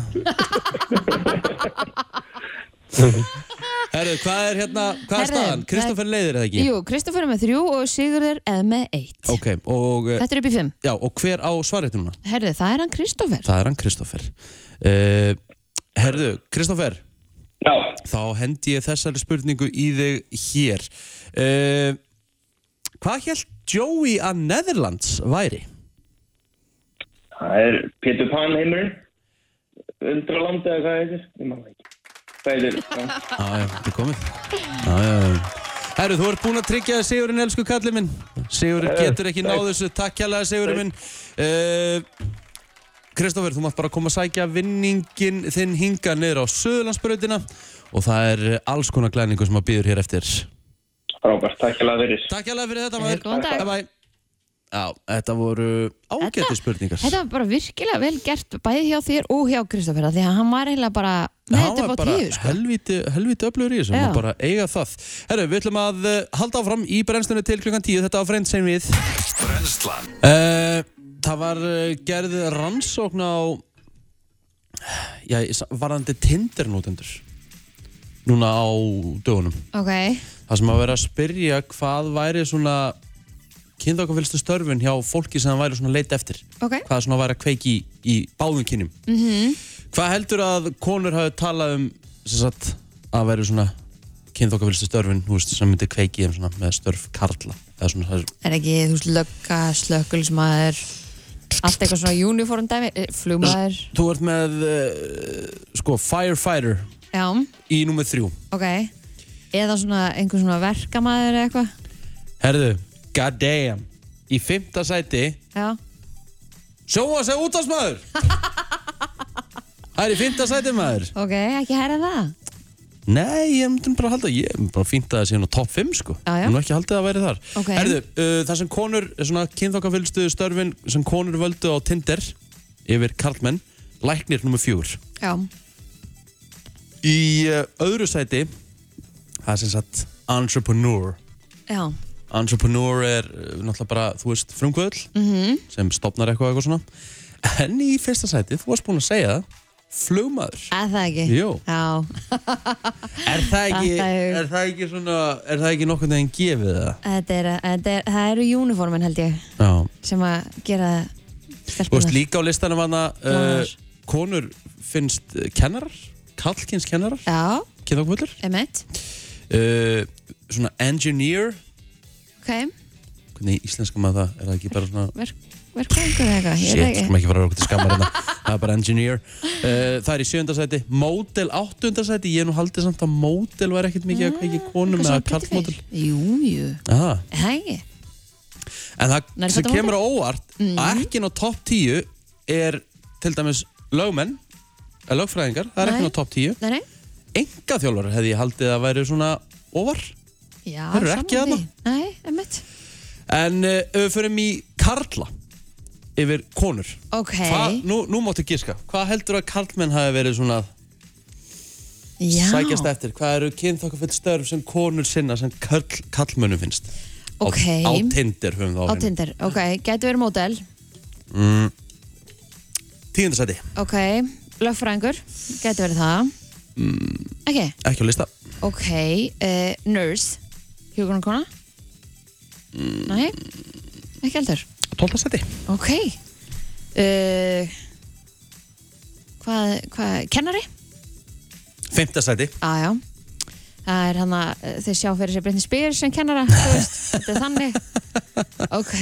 A: Herru, hvað er hérna, hvað er
B: Herru,
A: staðan? Kristoffer leiðir það ekki?
B: Jú, Kristoffer er með þrjú og Sigurður er með eitt.
A: Ok, og, eh,
B: Þetta er upp í fimm.
A: já, og hver á svarréttununa?
B: Herðu, það er hann Kristoffer.
A: Það er hann Kristoffer uh, Herðu, Kristoffer
E: já,
A: Þá hendi ég þessari spurningu í þig hér uh, Hvað held Joey að Netherlands væri?
E: það er Peter Pan heimurinn Undraland eða hvað heitir, ég man það ekki hvað heitir, já,
A: Já, já, þetta er komið Já, já, já Herru, þú ert búinn að tryggja þér Sigurinn, elsku kallið minn Sigurinn getur ekki náð þessu, takk kjærlega Sigurinn minn uh, Kristoffer, þú mátt bara koma að sækja vinningin þinn hinga niður á Suðurlandsbrautina og það er alls konar glæningu sem að býður hér eftir
E: frábært, takk hérlega fyrir
A: Takk hérlega fyrir þetta
B: Jæja,
A: maður
B: góðan dag.
A: Bye bye. Já, þetta voru ágæti
B: Þetta-
A: spurningar
B: Þetta var bara virkilega vel gert bæði hjá þér og hjá Kristoffer af því að hann var eiginlega bara með
A: Hann
B: þetta
A: var
B: upp á
A: bara
B: tíu sko.
A: helviti, helviti öflugur í þessu,
B: Já.
A: maður bara eiga það Herru, við ætlum að eh, halda áfram í brennstunni til klukkan 10, þetta var frend sem við
C: Brennslan
A: Eh, Það var eh, gerð rannsókn á já, varðandi Tinder nótendur núna á dögunum
B: Ok,
A: Það sem að vera að spyrja hvað væri svona kynþokkafylgstu störfin hjá fólki sem það væri svona að leita eftir
B: ok
A: hvað svona væri að kveiki í, í báðum kynum -hmm. hvað heldur að konur hafi talað um sem sagt, að væri svona kynþokkafylgstu störfin þú veist, sem myndi kveiki í þeim svona, með störf karla eða svona, það er-
B: Er ekki, þú veist, lögga, slökkulsmaður allt eitthvað svona uniform dæmi eh, flugmaður,
A: þú ert með uh, sko firefighter
B: já,
A: í númer þrjú
B: ok eða svona einhver svona verkamaður eða eitthvað
A: herðu, god damn í fymta sæti
B: já,
A: sjóa sig út af smaður það er í fymta sæti maður
B: ok, ekki hæra það
A: Nei, ég myndi nú bara að halda, ég myndi bara fínt að það sé nú top 5 sko
B: Já, já.
A: Nú ekki haldið að væri þar
B: Ok.
A: Herðu, uh, það sem konur, svona kynþokkafylgstu störfin sem konur völdu á Tinder yfir Karlmenn, læknir nummer fjúr
B: já,
A: Í uh, öðru sæti, það er sem sagt entrepreneur
B: já,
A: Entrepreneur er uh, náttúrulega bara, þú veist, frumkvöðl
B: mhm.
A: -hmm. sem stopnar eitthvað eitthvað svona En í fyrsta sæti, þú varst búin að segja það, flugmaður
B: eða það ekki
A: Jú.
B: já,
A: Er það ekki,
B: Þetta er-
A: er það ekki svona, er það ekki nokkurn veginn gefið það?
B: þetta er, þetta er það eru uniformin held ég
A: Já,
B: sem að gera
A: þú veist
B: stelpunar
A: líka á listanum hana uh,
B: Lánars.
A: konur finnst uh, kennarar, kallkins kennarar,
B: já,
A: kynþokkvöldur,
B: emitt,
A: uh, svona engineer,
B: ok
A: hvernig íslenska maður það, er það ekki bara svona,
B: verkvæðingur eða eitthvað Ég
A: shit,
B: veit
A: skulum ekki fara okkur til skammar hérna, það er bara engineer. Uh, það er í sjöndasæti, módel áttundasæti, ég hef nú haldið samt að módel var ekkert mikið
B: Ah,
A: að kveiki konum eða kallmódel.
B: jú, jú,
A: Aha.
B: hei
A: En það
B: Nærfætta
A: sem kemur á
B: módel?
A: óvart
B: Mhm.
A: að ekki ná topp 10 er til dæmis lögmenn eða lögfræðingar, það er ekki
B: Nei.
A: ná topp 10
B: nei, nei,
A: enga þjálfar hefði ég haldið að væri svona óvar
B: já,
A: Þeir eru
B: sammála
A: ekki þarna.
B: því. nei, emitt,
A: en uh, ef við förum í karla yfir konur
B: ok
A: Hva, nú, nú máttu giska, hvað heldur að karlmenn hafi verið svona að
B: já,
A: sækjast eftir, hvað eru kynþokkafull störf sem konur sinna sem karl, karlmönnum finnst
B: ok
A: á, á Tinder höfum við
B: á
A: á hreinu. Mm.
B: Tinder, ok, gætu verið módel
A: tíundasæti,
B: ok, lögfræðingur gætu verið það ekki,
A: Mm, ekki á lista
B: ok uh, nurse, hjúgrunarkona mm. nei ekki heldur,
A: tóltasæti,
B: ok uh, hvað Eh, hvað, hvað, kennari?
A: Fymta sæti
B: Já, já. Það er hann að eh, þeir sjá fyrir sér Britney Spears sem kennara, þú veist, þetta er þannig. Ok,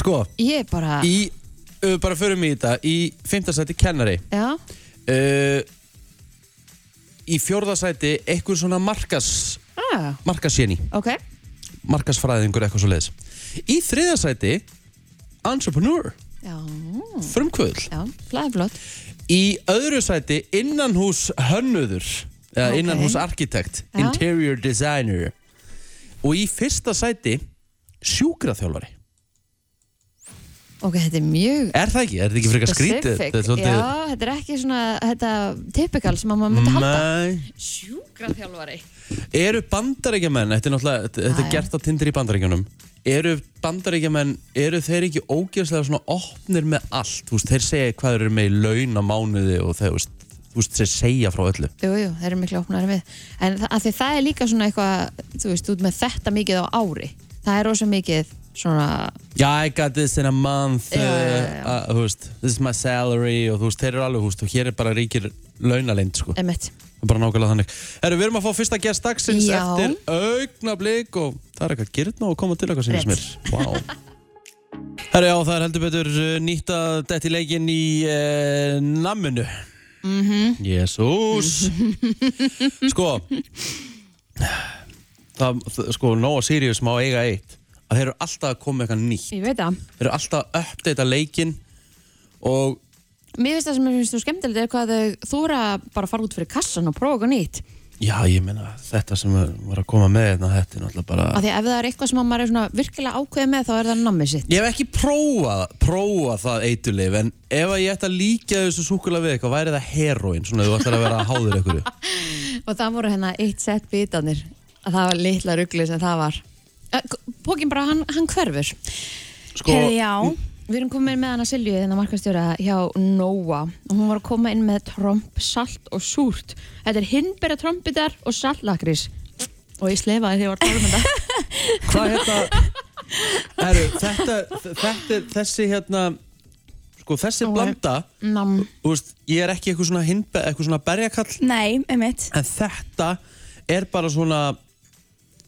A: Sko,
B: ég er bara,
A: í, ef við bara förum í þetta Í fymta sæti kennari
B: já,
A: uh, Í fjórða sæti Eitthvað svona markas
B: ah,
A: Markasjeni,
B: ok,
A: markasfræðingur Eitthvað svo leiðis Í þriðja sæti Entrepreneur,
B: já,
A: frumkvöðl
B: já, flæðblott,
A: Í öðru sæti innanhús hönnuður eða
B: Ok.
A: innanhús arkitekt
B: Já.
A: interior designer og í fyrsta sæti sjúkraþjálfari
B: ok, þetta er mjög
A: Er það ekki? Er þetta ekki frekar skrítið?
B: specific. Já, þetta er ekki svona, þetta typical sem að maður myndi halda.
A: Nei.
B: Sjúkraþjálfari.
A: Eru bandaríkjamenn, þetta er náttúrulega þetta- þetta
B: Já,
A: er
B: já.
A: gert á tindir í bandaríkjunum eru bandaríkjamenn, eru þeir ekki ógeðslega svona opnir með allt þú veist, þeir segja hvað þeir eru með í laun á mánuði og þeir, þú veist, þú veist, þeir segja frá öllu
B: Jú, jú, þeir eru miklu opnari við. En það, því það er líka svona eitthvað, þú veist, út með þetta mikið á ári. Það er rosa mikið svona,
A: Já, I got this in a month
B: Já,
A: uh,
B: já, já.
A: uh, þú veist, This is my salary og þú veist, þeir eru alveg, þú veist, og hér er bara ríkir launalind, sko,
B: emitt.
A: það er bara nákvæmlega þannig Herru, við erum að fá fyrsta gest dagsins
B: Já.
A: eftir augnablík og það er eitthvað gyrna og koma til eitthvað sinni sem er Vá Herru, já, það er heldur betur uh, nýtt að detti leikinn í uh, namminu mm
B: Mhm.
A: -hmm. Jésús Sko það, það- sko, Nóa Sirius má eiga eitt að þeir eru alltaf að koma með eitthvað nýtt
B: Ég veit það.
A: þeir eru alltaf að uppdata leikinn og
B: Mér finnst það sem mér finnst þú skemmtilegt er hvað þau þóra bara að fara út fyrir kassan og prófa eitthvað nýtt.
A: já, ég meina þetta sem var að koma með þetta, þetta er náttúrulega bara
B: Af því að ef það er eitthvað sem að maður er svona virkilega ákveðið með þá er það nammið sitt.
A: ég hef ekki prófað, prófað það eitulif en ef að ég ætti að líka þessu súkula við eitthvað, væri það heroin svona ef þú ætlar að vera háður ykkur
B: Og það voru hérna eitt sett bitanir að það var litla ruggli sem það var. Pókin bara, hann, hann hverfur.
A: sko,
B: Við erum komin með hana Silju, þennan markastjóra hjá Nóa og hún var að koma inn með tromp, salt og súrt. Þetta er hinnbera trombitar og saltlakrís. Og ég slefaði þegar ég var tólum þetta.
A: hvað hérna Heru, þetta, þetta er þessi hérna sko þessi
B: Ó,
A: blanda
B: Nam.
A: þú veist, ég er ekki eitthvað svona, hinbe, eitthvað svona berjakall
F: Nei, einmitt.
A: en þetta er bara svona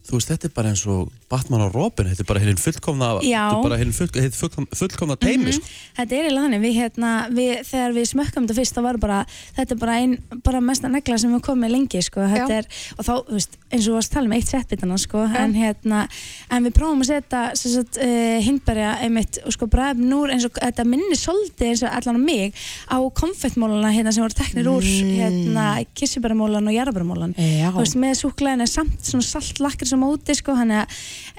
A: þú veist, þetta er bara eins og Batman og Robin, þetta er bara hinn fullkomna
F: Já.
A: þetta er bara hinn full, hinn fullkomna, fullkomna teimi
B: Mhm.
A: sko.
F: Mhm. Þetta er eiginlega þannig, við, hérna, við, þegar við smökkum þetta fyrst þá var bara, þetta er bara einn, bara mesta negla sem við komum með lengi, sko, þetta
B: Já.
F: er, og þá, þú veist, eins og þú varst að tala með eitt setbitana, sko, en hérna, en við prófum að setja, sem sagt, uh, hindberja einmitt, og sko, bræðum núr, eins og, þetta minnir svolítið eins og allan á mig, á konfettmólana, hérna, sem voru teknir úr, hérna, kissibæramólan og jarðabæramólan,
B: Mm. Já.
F: þú veist, með súklaðinu samt svona salt lakris á móti, sko, þannig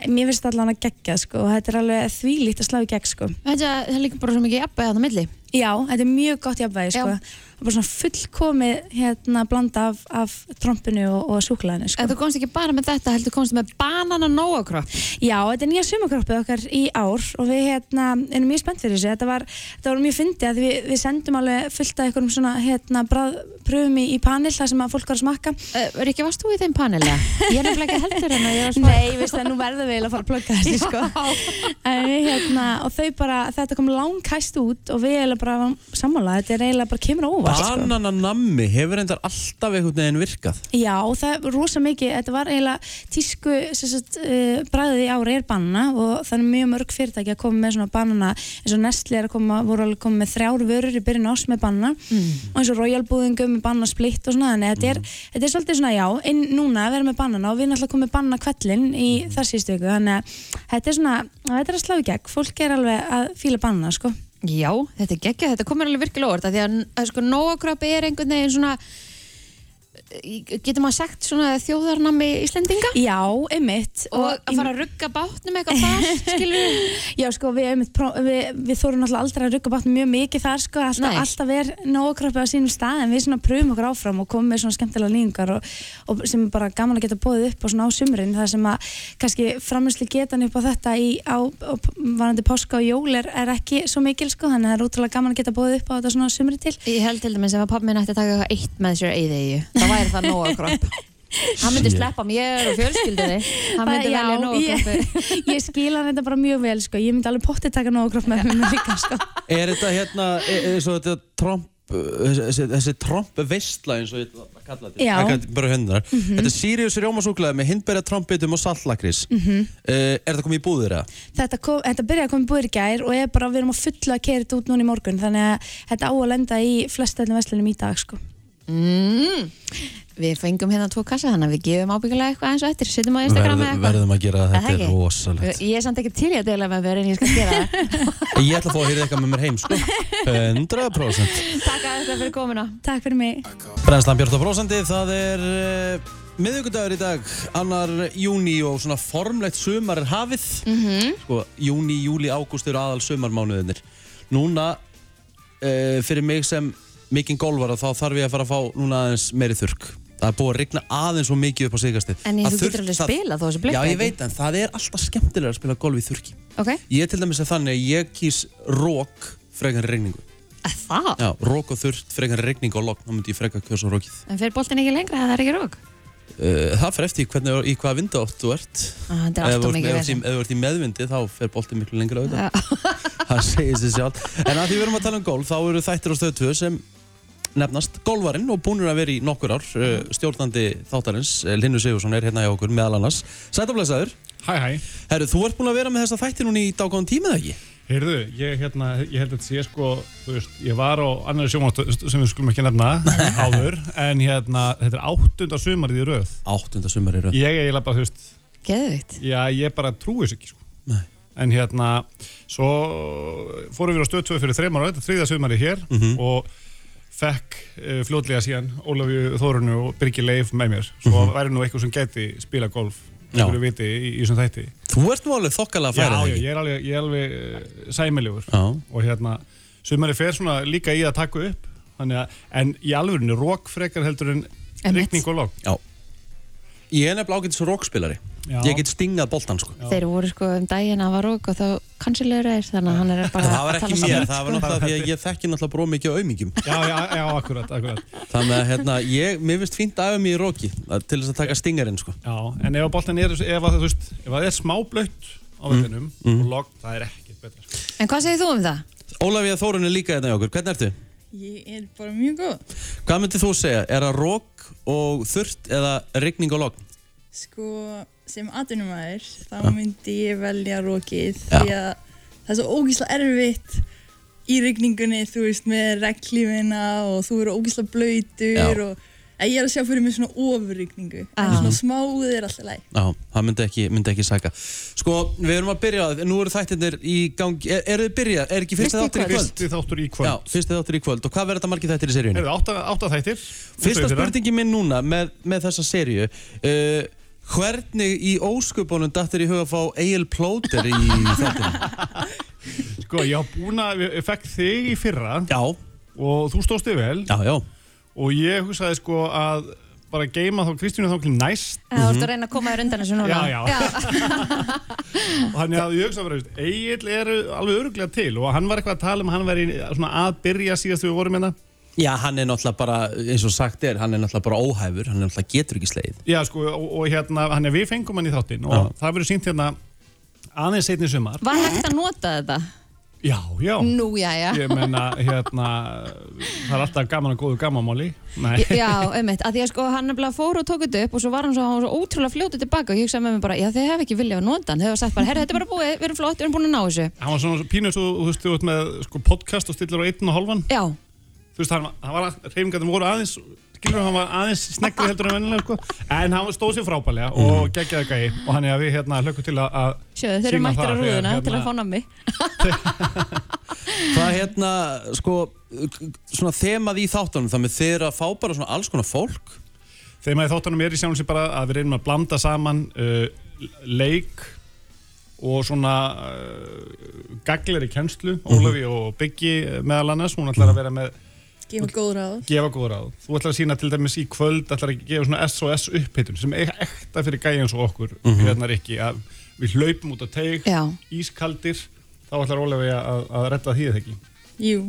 F: að mér finnst allan að gegja, sko, og þetta er alveg þvílíkt að slá í gegn, sko.
B: Þetta það er líka bara svo mikið jafnbæði þarna á milli.
F: Já, þetta er mjög gott jafnvægi sko.
B: Já.
F: Það er bara svona fullkomið hérna blanda af, af trompinu og, og súklaðinu sko.
B: En þú komst ekki bara með þetta, heldur komst með banana Nóa kropp.
F: Já, þetta er nýja sumakroppið okkar í ár og við hérna, erum mjög spennt fyrir þessu. Þetta var, þetta var mjög fyndið að við, við sendum alveg fullt af einhverjum svona hérna brað, pröfum í, í panel þar sem að fólk var að smakka.
B: Uh, Rikki, varst þú í þeim paneli? Ég er nefnilega ekki heldur hennar, ég var svona...
F: Nei, veist það, nú verðum við eiginlega að fara að plugga þessu sko. En við, hérna, og þau bara, þetta kom langkæst út og við eiginlega bara varum sammála. Þetta er eiginlega bara kemur á óvart sko.
A: Banananammi hefur endar alltaf einhvern veginn virkað
F: Já, það er rosa mikið, þetta var eiginlega tísku sem sagt, uh, bræðið í ári er banana og það er mjög mörg fyrirtæki að koma með svona banana eins og Nestle er að koma, voru alveg komið með þrjár vörur í byrjun ás með banana
B: Mm.
F: og eins og Royal búðingu með banana splitt og svona þannig að þetta, er,
B: Mhm.
F: þetta er svolítið svona já, inn núna að vera með banana og við erum alltaf komið banana kvellin í
B: Mhm.
F: þar síðustu viku þannig að þetta er svona, þetta er að slá í gegn, fólk er alveg að fíla banana sko.
B: Já, þetta er geggjað, þetta komur alveg virkilega orð því að, að sko, nóakrabbi er einhvern veginn svona getur maður sagt svona þjóðarnami Íslendinga
F: Já, einmitt
B: og að fara að rugga bátnum eitthvað fast skilur
F: Já, sko, við, einmitt pró- við, við þórum alltaf aldrei að rugga bátnum mjög mikið þar, sko, alltaf,
B: Nei.
F: alltaf er nógkrappið á sínum stað, en við svona pröfum okkur áfram og komum með svona skemmtilega nýjungar og, og sem er bara gaman að geta bóðið upp og svona á sumrin, þar sem að kannski framherslu getan upp á þetta í, á, á varandi páska og jól er, er ekki svo mikil, sko, þannig að það er útrúlega gaman að geta bóðið upp á þetta svona á sumri til.
B: Ég held til dæmis ef að pappi minn ætti að taka eitthvað eitt með sér eiðegi þá væri það nóakrabb hann myndi sleppa mér og fjölskyldinni hann myndi
F: Já,
B: velja nóakrabbi
F: Ég, ég skila þetta bara mjög vel, sko, ég myndi alveg pottið taka nógkrapp með mér líka, sko.
A: e- Er þetta hérna, er, er, svo þetta tromp þessi, þessi, þessi tromp veistla eins og ég ætla að kalla þetta
F: Já.
A: Taka þetta bara hennar
B: Mhm.
A: Þetta er Sirius Rjómasúklaði með hindberja trompbitum og saltlakris
B: Mm.
F: Mhm.
A: uh, Er þetta komið í búðir eða?
F: þetta, kom, þetta byrjaði að koma í búðir í gær og ég bara, við erum að fulla að kera þetta út núna í morgun þannig að þetta á að lenda í flestallum vestlunum í dag sko.
B: mm, Við fengum hérna tvo kassa þannig að við gefum ábyggulega eitthvað eins og eftir setjum á Instagram eða
A: Verðum-
B: eitthvað
A: Verðum að gera
B: Er
A: það,
B: það
A: þetta er
B: ekki?
A: rosalegt
B: Ég er samt ekki til í að deila með mér en ég skal gera það
A: Ég ætla að fá að hýrða eitthvað með mér heim sko 100%
B: Takk að þetta fyrir komuna
F: Takk fyrir mig
A: Brennslan Björn og Brósandi, það er uh, miðvikudagur í dag, annar júni og svona formlegt sumar er hafið
B: Mhm.
A: sko, júni, júli, ágúst eru aðal sumarmánuðinir núna uh, fyrir mig sem mikinn golfara þá þarf ég að fara að fá núna aðeins meiri þurrk það er búið að rigna aðeins og mikið upp á sigastið
B: En ég-
A: Það
B: þú
A: þurrt-
B: getur alveg
A: það-
B: spilað þó þessu blikka,
A: Já, ég
B: ekki?
A: veit en það er alltaf skemmtilega að spila golf í þurrki
B: Ok,
A: Ég er til dæmis að þannig að ég kýs rók frekar en regningu
B: að það
A: Já, rók og þurrt frekar en regning og logn þá myndi ég frekar kjósa rókið
B: En fer boltin ekki lengra, það er ekki rók
A: Uh, það fer eftir í hvernig, í hvaða vindátt þú ert
B: Ah, þetta er
A: Ef
B: alltaf
A: þú ert-
B: mikið
A: ef þú ert í- Ef þú ert í meðvindi þá fer boltið miklu
B: Já.
A: lengra auðvitað Það segir sér sjálf En að því við erum að tala um golf þá eru þættir á stöðu 2 sem nefnast golvarinn og búnur að vera í nokkur ár uh, stjórnandi þáttarins uh, Linnu Sigursson er hérna hjá okkur meðal annars Sætablesaður
G: Hæ, hæ.
A: Herru, þú ert búin að vera með þessa þætti núna í dágóðan tíma eða ekki?
G: Heyrðu, ég, hérna, ég held að þetta sé sko, þú veist, ég var á annari sjónváttu sem við skulum ekki nefna áður, en hérna, þetta er áttunda sumarið í röð.
A: Áttunda sumar eru
G: Ég er eiginlega bara, þú veist,
B: Geðvikt
G: já, ég bara trúi þess ekki, sko.
A: Nei.
G: En hérna, svo fórum við á stöð 2 fyrir þreymar ára, þetta er þriðja sumarið hér
A: Mhm.
G: og fekk uh, fljótlega síðan Ólafju Þórunu og Birgi Leif með mér. Svo væri nú eitthvað sem gæti spila golf,
A: Mhm. Já.
G: þú viti, í, í þessum þætti.
A: Þú ert nú alveg þokkalega að
G: Já,
A: færa
G: já, ég er alveg, ég er alveg eh, sæmilegur
A: Já.
G: og hérna, sumari fer svona líka í að taka upp þannig að, en í alvörinu rók frekar heldur en
B: Einmitt.
G: rigning og logg
A: Ég er nefnilega ágætis rókspilari
G: Já.
A: Ég get stingað boltan sko
B: Þeir voru sko um daginn að var rók og þá kansilegur er þannig að hann er bara
A: Það var
B: að
A: ekki
B: tala saman,
A: mér, það
B: sko.
A: var náttúrulega því að ég þekki náttúrulega bró mikið á aumingjum
G: Já, já, já, akkurat, akkurat
A: Þannig að hérna, ég, mér finnst fínt aðeins mér í róki að- til þess að taka stingarinn sko
G: Já, en ef að boltan er, ef að þú veist ef að það er smá blött á vettinum
A: Mm,
G: og logg, það er ekkert betra
B: En hvað segir þú um það?
A: Ólafía Þórun er líka hérna hjá okkur, hvernig ertu?
H: Ég er bara mjög góð.
A: Hvað myndir þú segja, er það rók og þurrt eða rigning og logn?
H: Sko, sem atvinnumæður, þá myndi ég velja rokið því að það er svo ógísla erfitt í rigningunni, þú veist, með reglífina og þú eru ógísla blöytur
A: Já.
H: og að ég er að sjá fyrir mig svona ofurrigningu.
B: Ah.
H: En svona smáð er alltaf læg.
A: Já, það myndi ekki, myndi ekki sæka Sko, við erum að byrja, nú eru þættirnir í gangi, er, eru þið byrja, er ekki fyrsti
B: Fyrsti í
A: þáttir
B: kvöld.
G: Fyrsti þáttur í
A: í kvöld? Já,
G: kvöld
A: fyrsti þáttir í kvöld og hvað verður þetta margir þættir í seríunni?
G: Heyrðu, átta, átta þættir
A: Fyrsta
G: Þau þeirra.
A: spurningi minn núna með, með þessa seríu uh, Hvernig í ósköpunum dattir í huga að fá Egil Plóter í þáttunum?
G: Sko, ég á búin að, ég fekk þig í fyrra
A: Já,
G: og þú stóðst þig vel
A: já, já
G: og ég hugsaði sko að bara geima þá Kristínu þá til næst Mhm.
B: Það voru að reyna að koma þér undan þessu núna
G: Já, já. og þannig að ég hugsaði bara, veist, Egil er alveg öruglega til og hann var eitthvað að tala um að hann væri svona að byrja síðast þegar við vorum hérna
A: Já, hann er náttúrulega bara, eins og sagt er, hann er náttúrulega bara óhæfur, hann er náttúrulega getur ekki sleið.
G: Já, sko, og, og hérna, hann er við fengum hann í þáttinn og
A: Já.
G: það verður sínt hérna aðeins seinni sumar
B: Var hægt að nota þetta?
G: Já, já,
B: Nú, já, já
G: ég menna, hérna það er alltaf gaman að góðu gamamáli Nei,
B: Já, einmitt, að því að sko hann nefnilega fór og tók þetta upp og svo var hann svo, hann var svo ótrúlega fljótið tilbaka og ég hugsaði með mér bara, já þið hef ekki viljað að nota hann, þau hafa sagt bara, herra þetta er bara búið, við erum flott, við erum búin að ná þessu.
G: hann var svona pínus og þú veist, þú veist með sko, podcast og stillir á einn og hálfan
B: Já,
G: þú veist, hann, hann var að, reyfingarnir voru aðeins skilur hann var aðeins sneggri heldur en vennilega sko. en hann stóð sér frábælega og geggjaði gæi og hann er að við hérna hlökkum til að, að
B: sjöðu, þeir eru
G: sýna
B: mættir á
G: það þegar,
B: rúðuna
G: hérna,
B: til að fá nammi.
A: Hvað hérna, sko, svona þemað í þáttunum, þannig þeir eru að fá bara svona alls konar fólk.
G: Þegar maður þáttanum er í sjálfum sér bara að við reynum að blanda saman uh, leik og svona uh, gaglir í kennslu,
A: Mhm.
G: Ólafi og Byggi eh, meðal annars, hún ætlar að vera með
H: Gefa góð ráð.
G: gefa góð ráð. Þú ætlar að sína til dæmis í kvöld, ætlar að gefa svona SOS upphitun sem er ekta fyrir gæja eins og okkur,
A: Mhm.
G: hérna Rikki, að við hlaupum út á teig,
B: Já,
G: ískaldir, þá ætlar Ólafi að, að redda því eða ekki.
H: Jú.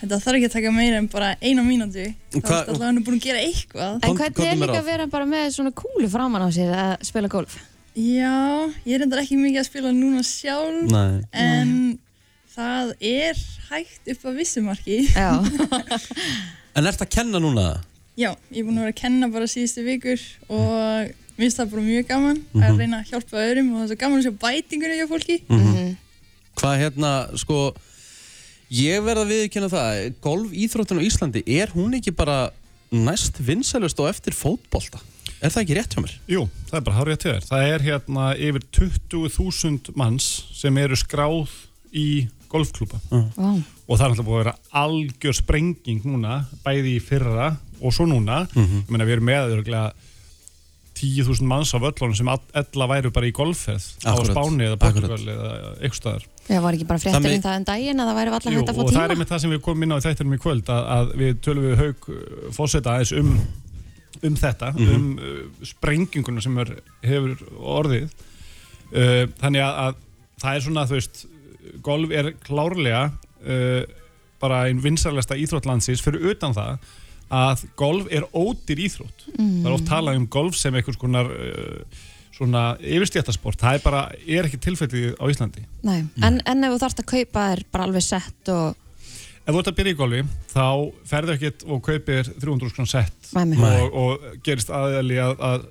H: Þetta þarf ekki að taka meira en bara eina mínútu. Það er
A: Hvað-
H: alltaf hann búin að gera eitthvað.
A: Kom-
B: en hvernig
A: komdu
B: er
A: mér
B: líka
A: að.
B: að vera bara með svona kúlu framan á sér að spila golf?
H: Já, ég er reyndar ekki mikið að spila núna sjálf.
A: Nei.
H: En Það er hægt upp að vissumarki.
B: Já.
A: En ert að kenna núna það?
H: Já, ég er búin að vera að kenna bara síðustu vikur og mér finnst það bara mjög gaman
A: Mhm.
H: að reyna að hjálpa öðrum og það er svo gaman að sjá bætingunni hjá fólki.
B: Mhm.
A: Hvað hérna, sko Ég verð að viðkynna það Golfíþróttin á Íslandi, er hún ekki bara næst vinsælust og eftir fótbolta? Er það ekki rétt hjá mér?
G: Jú, það er bara hárið að þér. Það er hérna yfir 20.000 manns sem eru skráð í golfklúpa.
B: Vá.
G: Og það er alltaf búið að vera algjör sprenging núna, bæði í fyrra og svo núna. Ég meina við erum með örgulega 10.000 manns á völlunum sem all- ella væru bara í golfferð á
A: Akkúrat,
G: Spáni eða Portugal eða eitthvað staðar.
B: Já, var ekki bara fréttir
G: Þannig-
B: um það um daginn að það væri alltaf
G: Jú,
B: hægt að fá
G: og það er
B: tíma?
G: einmitt það sem við komum inn á í þættinum í kvöld að, að við tölum við haug fósetta aðeins um, um þetta
I: Mhm.
G: um uh, sprenginguna sem er, hefur orðið uh, þannig að, að það er svona þú veist, golf er klárlega uh, bara einn vinsarlegsta íþróttlandsins fyrir utan það að golf er ódýr íþrótt
J: Mm.
G: það
B: Mhm.
G: er oft talað um golf sem einhvers konar uh, svona yfirstjættasport það er bara, er ekki tilfellið á Íslandi
B: Nei,
G: Mm.
B: en, en ef þú þarft að kaupa þér bara alveg sett og
G: Ef þú ert að byrja í golfi, þá ferðu ekkert og kaupir 300 skrann sett
B: Nei, nei.
G: og, og gerist aðeili að, að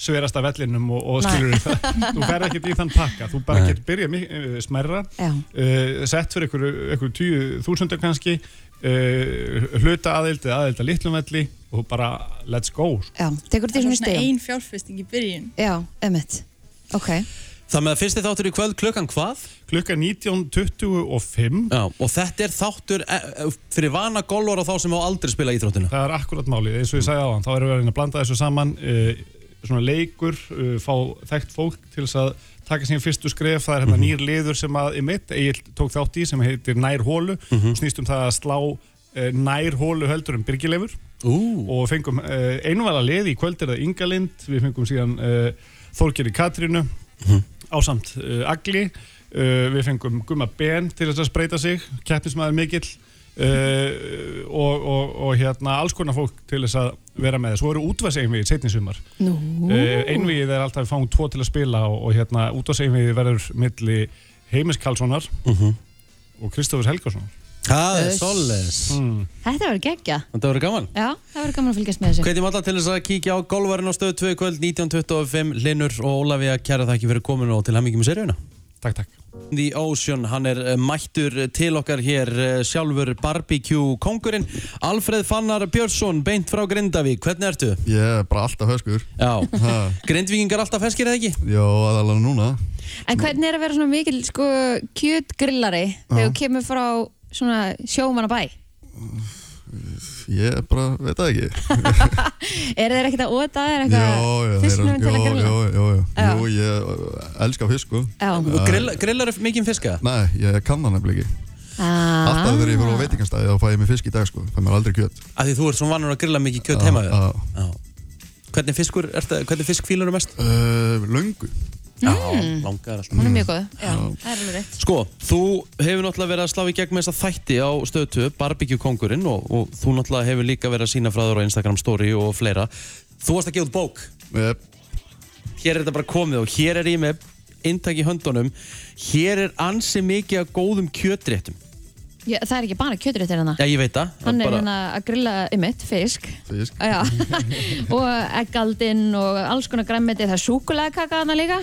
G: sverast af vellinum og, og
B: Nei.
G: skilur það. Þú ferð ekkert í þann pakka, þú bara
A: Nei.
G: getur byrjað mik- eh, smærra,
B: Já.
G: uh, sett fyrir einhverju einhverju tíu þúsundar kannski, uh, hluta aðeild eða aðeild að litlum velli og bara let's go. sko.
B: já, tekur því
H: Það
B: svona
H: er
B: í
H: svona
B: stegum?
H: ein fjárfesting í byrjun.
B: Já, emitt. Ok.
A: Það með að fyrsti þáttur í kvöld klukkan hvað?
G: Klukkan 19.25
A: Já, og þetta er þáttur e, e, fyrir vana golvar og þá sem á aldrei spila íþróttina
G: Það er akkurat málið, eins og ég sagði á hann, þá erum við að reyna að blanda þessu saman, uh, svona leikur, uh, fá þekkt fólk til þess að taka sín fyrstu skref, það er hérna nýr liður sem að Emil Egil tók þátt í sem heitir Nær hólu,
A: Mhm.
G: snýst um það að slá uh, Nær hólu heldur um byrgileifur og fengum uh, einvala lið í kvöld er það Inga Lind, við fengum síðan uh, Þorgeri Katrínu ásamt uh, Agli, uh, við fengum Gumma Ben til þess að spreita sig, keppnismæður mikill uh, og, og, og hérna alls konar fólk til þess að vera með. Svo eru útvarseinvið setni sumar.
B: Nú.
G: Uh, einvið er alltaf við fáum tvo til að spila og, og hérna útvarseinvið verður milli Heimis Karlssonar og Mm. Kristofur Helgarssonar.
A: Það
B: Mhm. er Uss. svoleiðis. Þetta verður geggja.
A: Þetta verður gaman
B: Já, það verður gaman að fylgjast með þessu.
A: Hvetjum alla til þess að kíkja á golvarinn á stöð 2 í kvöld 1925 Linur og Ólafía kæra þakki fyrir komin og til hemmingi með seríuna
G: Takk, takk
A: The Ocean, hann er eh, mættur til okkar hér eh, sjálfur barbecue kongurinn Alfreð Fannar Björnsson, beint frá Grindavík, hvernig ertu?
K: Ég er bara alltaf höskur
A: Já, grindvíkingar alltaf feskir eða ekki?
K: Já, aðalega núna
B: En hvernig er að vera svona mikil sko, kjötgrillari þegar
K: Já.
B: þú kemur frá svona sjómanabæ?
K: Ég bara, veit það ekki
B: Er þeir ekkert að óta þér
K: Já,
B: eitthvað
K: já,
B: fiskunum til að
K: já,
B: grilla?
K: já, já, já.
B: Já.
K: Jú, ég uh, elska fisk sko.
B: Já. Og grill-
A: Grillar er mikið fiska?
K: Nei, ég kann það nefnilega ekki
B: Ah.
K: Alltaf þegar ég fyrir á veitingastæði þá fæ ég mér fisk í dag sko, fæ mér aldrei kjöt
A: Af því þú ert svona vannur að grilla mikið kjött heima við Já Hvernig fiskur, er það, hvernig fisk fílar mest?
K: Uh, löngu
A: Já, mm. langar alltaf
B: Hún er mjög góð. Já, það er alveg rétt.
A: Sko, þú hefur náttúrulega verið að slá í gegn með þessa þætti á stöðtu, Barbecue Kongurinn og, og þú náttúrulega hefur líka verið að sína frá þér á Instagram story og fleira Þú varst að gefa út bók
K: yep.
A: Hér er þetta bara komið og hér er ég með inntak í höndunum Hér er ansi mikið af góðum kjötréttum
B: Já, það er ekki bara kjötréttir hérna.
A: Já, ég veit það
B: Hann er
A: bara-
B: hérna að grilla ymmit, fisk,
K: Fisk
B: Já. og eggaldinn og alls konar græmmeti, það er súkulegakaka hana líka.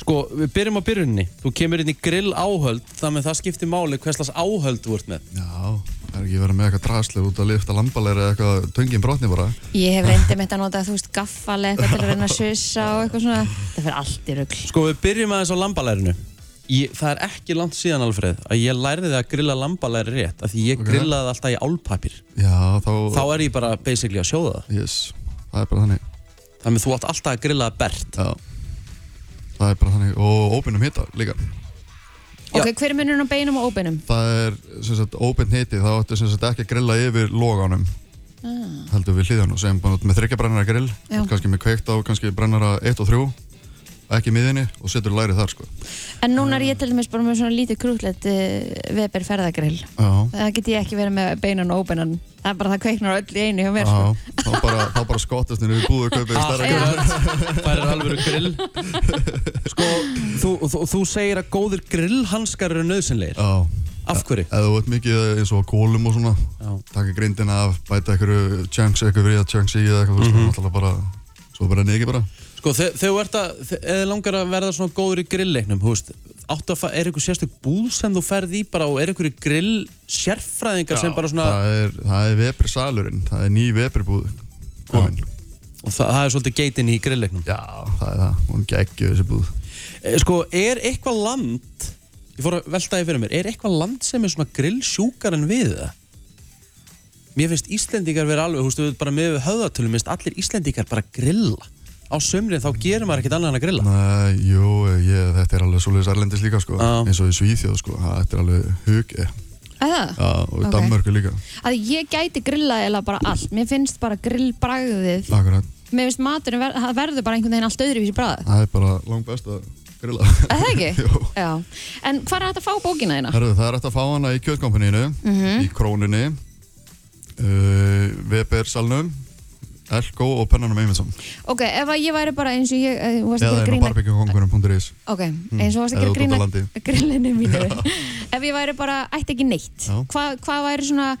A: Sko, við byrjum á byrjunni Þú kemur inn í grill áhöld Þannig að það skiptir máli hvers slags áhöld þú ert með
K: Já, það er ekki verið með eitthvað drasli út að lifta lambalæri eða eitthvað töngin brotni bara
B: Ég hef reyndið mitt að nota, þú veist, gaffal eða eitthvað til að reyna að sussa og eitthvað svona. Það fyrir allt í rugl.
A: Sko, við byrjum aðeins á lambalærinu ég, Það er ekki langt síðan, Alfreð Að ég lærði það að grilla lambalæri rétt Af því ég grillaði það alltaf í álpapir
K: Já, þá,
A: Þá er ég bara basically að sjóða það
K: yes, það er bara þannig
A: Þannig að þú átt alltaf að grilla það bert
K: Já, það er bara þannig og óbeinum hita líka
B: Ok, hver er munurinn á beinum og óbeinum?
K: Það er sem sagt óbeint hiti, þá ættu sem sagt ekki að grilla yfir loganum
B: Ah.
K: heldur við hlýðan og segjum bara með þryggja brennara grill
B: Já.
K: kannski með kveikt á, kannski brennara 1 og 3 ekki í miðinni og setur lærið þar sko.
B: En núna er ég til dæmis bara með svona lítið krútlegt uh, Weber ferðagrill.
K: Já.
B: Það get ég ekki verið með beinan og óbeinan. Það er bara það kveiknar öll í einu hjá mér. sko.
K: Já, þá bara, þá bara skottast henni við búðu að
B: Ah,
K: kaupa í
A: Ah,
K: starra grill
A: Færir alvöru grill Sko, þú, þú, þú segir að góðir grillhanskar eru nöðsynleir
K: Já
A: Af hverju?
K: Eða þú veit mikið eins og á kólum og svona Takka grindina af, bæta einhverju chunks eitthvað við að chunks í eða eitthvað mm -hmm. Náttúrulega bara, svo bara negi bara
A: Mhm. Sko, þe- þegar þú ert að, þe- eða þig langar að verða svona góður í grillleiknum, þú veist áttu að fara, er einhver sérstök búð sem þú ferð í bara og er einhverju grill sérfræðingar sem bara svona
K: Það er, það er vepri salurinn, það er ný vepri búð komin
A: og það, það er svolítið geitin í grillleiknum
K: Já, það er það, hún geggju þessi búð
A: Sko, er eitthvað land ég fór að velta því fyrir mér, er eitthvað land sem er svona grillsjúkar en við það? Mér finnst Íslendingar vera alveg, þú veist, við bara með höfðatölum, minnst allir Íslendingar bara grilla á sömrin, þá gerir maður ekkert annað en að grilla
K: Nei, jú, ég, þetta er alveg svoleiðis erlendis líka sko Eins og í Svíþjóð sko, það- þetta er alveg hug Já,
B: Eða?
K: og í
B: Ok.
K: Danmörku líka
B: Að ég gæti grillað eða bara allt. Mér finnst bara grillbragðið.
K: Akkurat,
B: Mér finnst maturinn, ver það verður bara einhvern veginn allt öðruvísi bragð.
K: það er bara langt best að grilla
B: Er það ekki?
K: Jú.
B: Já. En hvað er hægt að fá bókina þína?
K: Herðu, það er hægt að fá hana í kjötkompaninu,
B: Mhm.
K: í krónunni, uh, Weber salnum, Elko og pennanum Eyvindsson.
B: Ok, ef að ég væri bara eins og ég, eh, þú varst ekki
K: Eða
B: að
K: inn á
B: grína.
K: barbecuekongurum.is.
B: Ok, eins og varst
K: Eða
B: ekki að
K: út út á
B: grína
K: landi.
B: grillinu mínu. ef ég væri bara, ætti ekki neitt.
K: Já.
B: Hvað hva væri svona,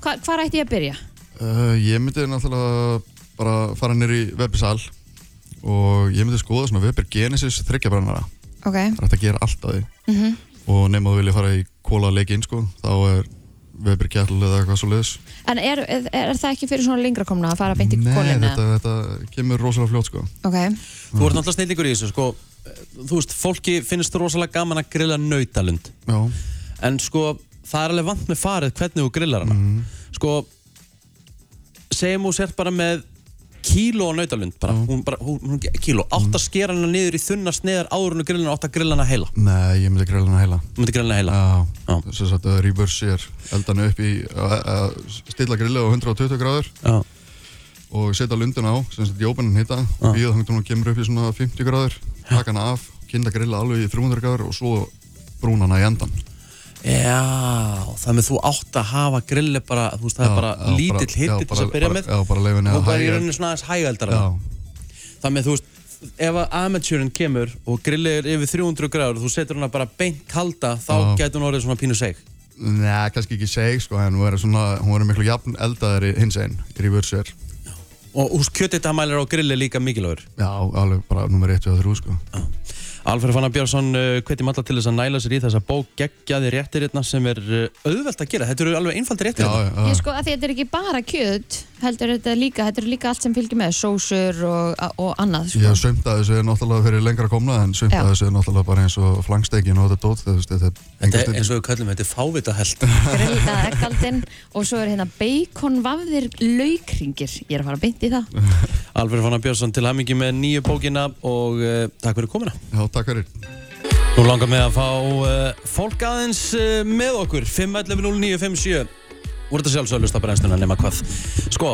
B: hva, hvar ætti ég að byrja?
K: Uh, ég myndi náttúrulega bara fara nýr í Weber sal og ég myndi skoða svona Weber Genesis þryggjabrannara.
B: Ok.
K: Það er hægt að gera allt af því.
B: Mm -hmm.
K: Og nema þú vilja fara í kóla leikinn sko, þá er Weber Kjall eða eitthvað svo liðs.
B: En er, er, er það ekki fyrir svona lengra komna að fara beint í
K: Nei,
B: kólinu?
K: þetta, þetta kemur rosalega fljótt sko.
B: Ok,
A: Þú ert náttúrulega snillingur í þessu, sko Þú veist, fólki finnst rosalega gaman að grilla nautalund
K: Já.
A: En sko, það er alveg vant með farið hvernig þú grillar hana
K: Mhm.
A: Sko, segjum þú sért bara með kíló á nautalund bara, hún bara, hún, hún, kíló Átt
K: Mhm.
A: að skera hana niður í þunna sneðar áður en þú grillar hana, átt að grilla hana heila
K: Nei, ég myndi grilla hana heila.
A: Þú myndi grilla hana heila
K: Já, þess að þetta reverseer eldanu upp í að að stilla grillið á 120 gráður
A: Já.
K: og setja lundin á, sem sett í ópennan hita og býða þangt hún kemur upp í svona 50 gráður taka hana af, kynna grilla alveg í 300 gráður og svo brúna hana í endan
A: Já, þannig þú átt að hafa grilli bara, þú veist, það er
K: Já,
A: bara
K: já,
A: lítill
K: bara-
A: hitti
K: já,
A: til þess að
K: bara-
A: byrja
K: bara-
A: með
K: já, bara leyfa henni að
A: Og bara í
K: hægja.
A: rauninni svona aðeins hægældara Þannig að þú veist, ef að amateurin kemur og grillið er yfir 300 gráður og þú setur hana bara beint kalda, þá
K: Já.
A: gæti hún orðið svona pínu seg
K: Nei, kannski ekki seg sko, en hún er, svona, hún er miklu jafn eldaðari hins einn reverseer,
A: Og hús kjötitamælir á grilli er líka mikilvægur
K: já, alveg bara nummer 1 og 3 sko
A: Alfred Fannar Björnsson uh, hveti matta til þess að næla sér í þessa bók geggjaði réttirinnar sem er uh, auðvelt að gera Þetta eru alveg
K: Ah.
A: einfaldi réttirinnar
B: ég sko að því þetta er ekki bara kjöt, heldur þetta líka, þetta er líka allt sem fylgir með, sósur og, og annað,
K: Já,
B: sko.
K: sumt að þessu er náttúrulega fyrir lengra komna en sumt
B: Já.
K: að þessu er náttúrulega bara eins og flankstekin og þetta dót, þú veist, þetta er
A: Þetta er eins og við kallum, þetta er fávitahelt
B: Grillita ekkaldin og svo er hérna beikonvafðir laukringir, ég er að fara beint í það.
A: Alfred Fannar Björnsson til hamingi með nýju bókina og uh, takk fyrir komuna
K: Já, takk fyrir
A: Nú langar mig að fá uh, fólk aðeins uh, með okkur 511-0957 Úr þetta sjálfsögðlust að brennstuna nema hvað Sko,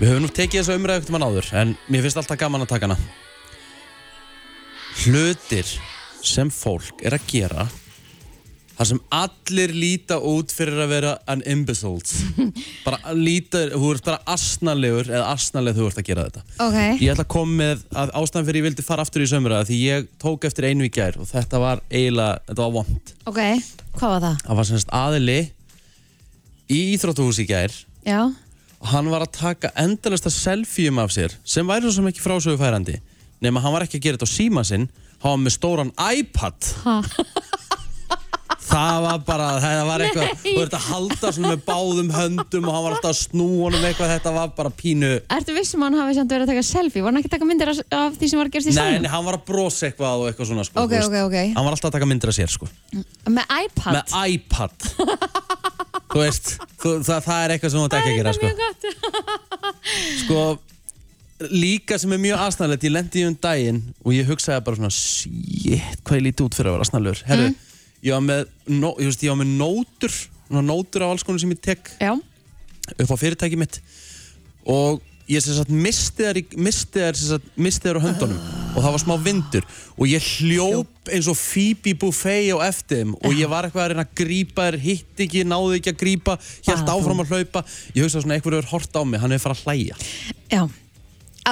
A: við höfum nú tekið þessa umræðu eftir mann áður En mér finnst alltaf gaman að taka hana Hlutir sem fólk er að gera Það sem allir líta út fyrir að vera an imbeciles Bara líta, þú ert bara asnalegur eða asnaleg þú ert að gera þetta
B: Ok,
A: Ég ætla að koma með að ástæðan fyrir ég vildi fara aftur í sömra því ég tók eftir einu í gær og þetta var eiginlega, þetta var vond
B: ok, hvað var það?
A: Það var semst aðili í Íþróttuhús í gær
B: Já,
A: og hann var að taka endalasta selfieum af sér sem væri svo sem ekki frásögu færandi nema hann var ekki að gera þetta á síma sinn hann var með stóran iPad
B: ha,
A: Það var bara, það var eitthvað
B: Nei.
A: þú verður að halda svona með báðum höndum og hann var alltaf að snú honum eitthvað þetta var bara pínu
B: ertu vissum að hann hafi samt verið að taka selfie, var hann ekki að taka myndir af, af því sem var að gerast í
A: Nei,
B: salnum?
A: nei, hann var að brosa eitthvað og eitthvað svona sko,
B: Ok,
A: þú veist.
B: ok, ok.
A: Hann var alltaf að taka myndir af sér sko
B: Með iPad?
A: með iPad þú veist, þú, það, það er eitthvað sem þú ætti ekki að gera sko. sko líka sem er mjög aðstæðanlegt ég lendi í um daginn og ég hugsaði bara svona shit, hvað ég líti út fyrir að vera aðstæðanlegur herru, ég var með nó, ég, veist, ég var með nótur, svona nótur á alls konu sem ég tek
B: Já.
A: upp á fyrirtæki mitt og ég sem sagt misti þær, í- misti þær, sem sagt, misti þær á höndunum og það var smá vindur og ég hljóp eins og Phoebe Buffet á eftir þeim og ég var eitthvað að reyna að grípa þér, hitt ekki, náði ekki að grípa
B: Ah,
A: helt áfram að hlaupa ég hugsa svona eitthvað er hort á mig, hann er farið að hlæja
B: Já,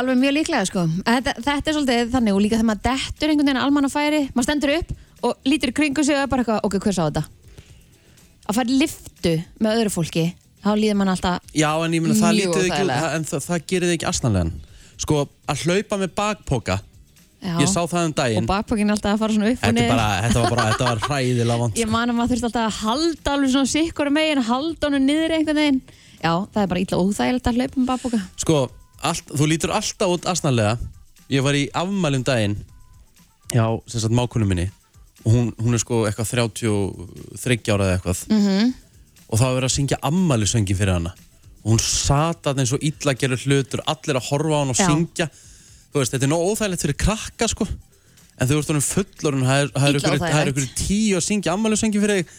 B: alveg mjög líklega sko. Þetta, þetta er svolítið þannig og líka þegar maður dettur einhvern veginn almann á færi, maður stendur upp og lítur í kringu sig og er bara eitthvað, ok, hver sá þetta? Að fara í lyftu með öðru fólki, þá líður mann alltaf,
A: Já, en ég meina það
B: Mjög
A: lítið ekki,
B: óþægilega.
A: það, en það, það gerir þið ekki asnanlegan. Sko, að hlaupa með bakpoka,
B: já,
A: ég sá það
B: og
A: um daginn.
B: bakpokkin alltaf að fara svona upp og
A: Þetta, er
B: niður.
A: bara, þetta var bara, þetta var hræðilega vond.
B: Ég man að maður þurfti alltaf að halda alveg svona sikkur megin, halda honum niður einhvern veginn. Já, það er bara illa óþægilegt að hlaupa með bakpoka.
A: Sko, allt, þú lítur alltaf út asnanlega. Ég var í afmæli um daginn, já, sem sagt mákunum minni, og hún, hún er sko eitthvað 33 ára eða eitthvað,
B: Mm
A: og það var verið að syngja afmælisöngin fyrir hana. Og hún sat að eins og illa gerur hlutur, allir að horfa á hann og
B: Já.
A: syngja. Þú veist, þetta er nóg óþægilegt fyrir krakka, sko. En þau ert honum fullorinn, það er- það er
B: Illa
A: ykkur- það er
B: óþægilegt.
A: ykkur tíu að syngja ammælusöngi fyrir þig.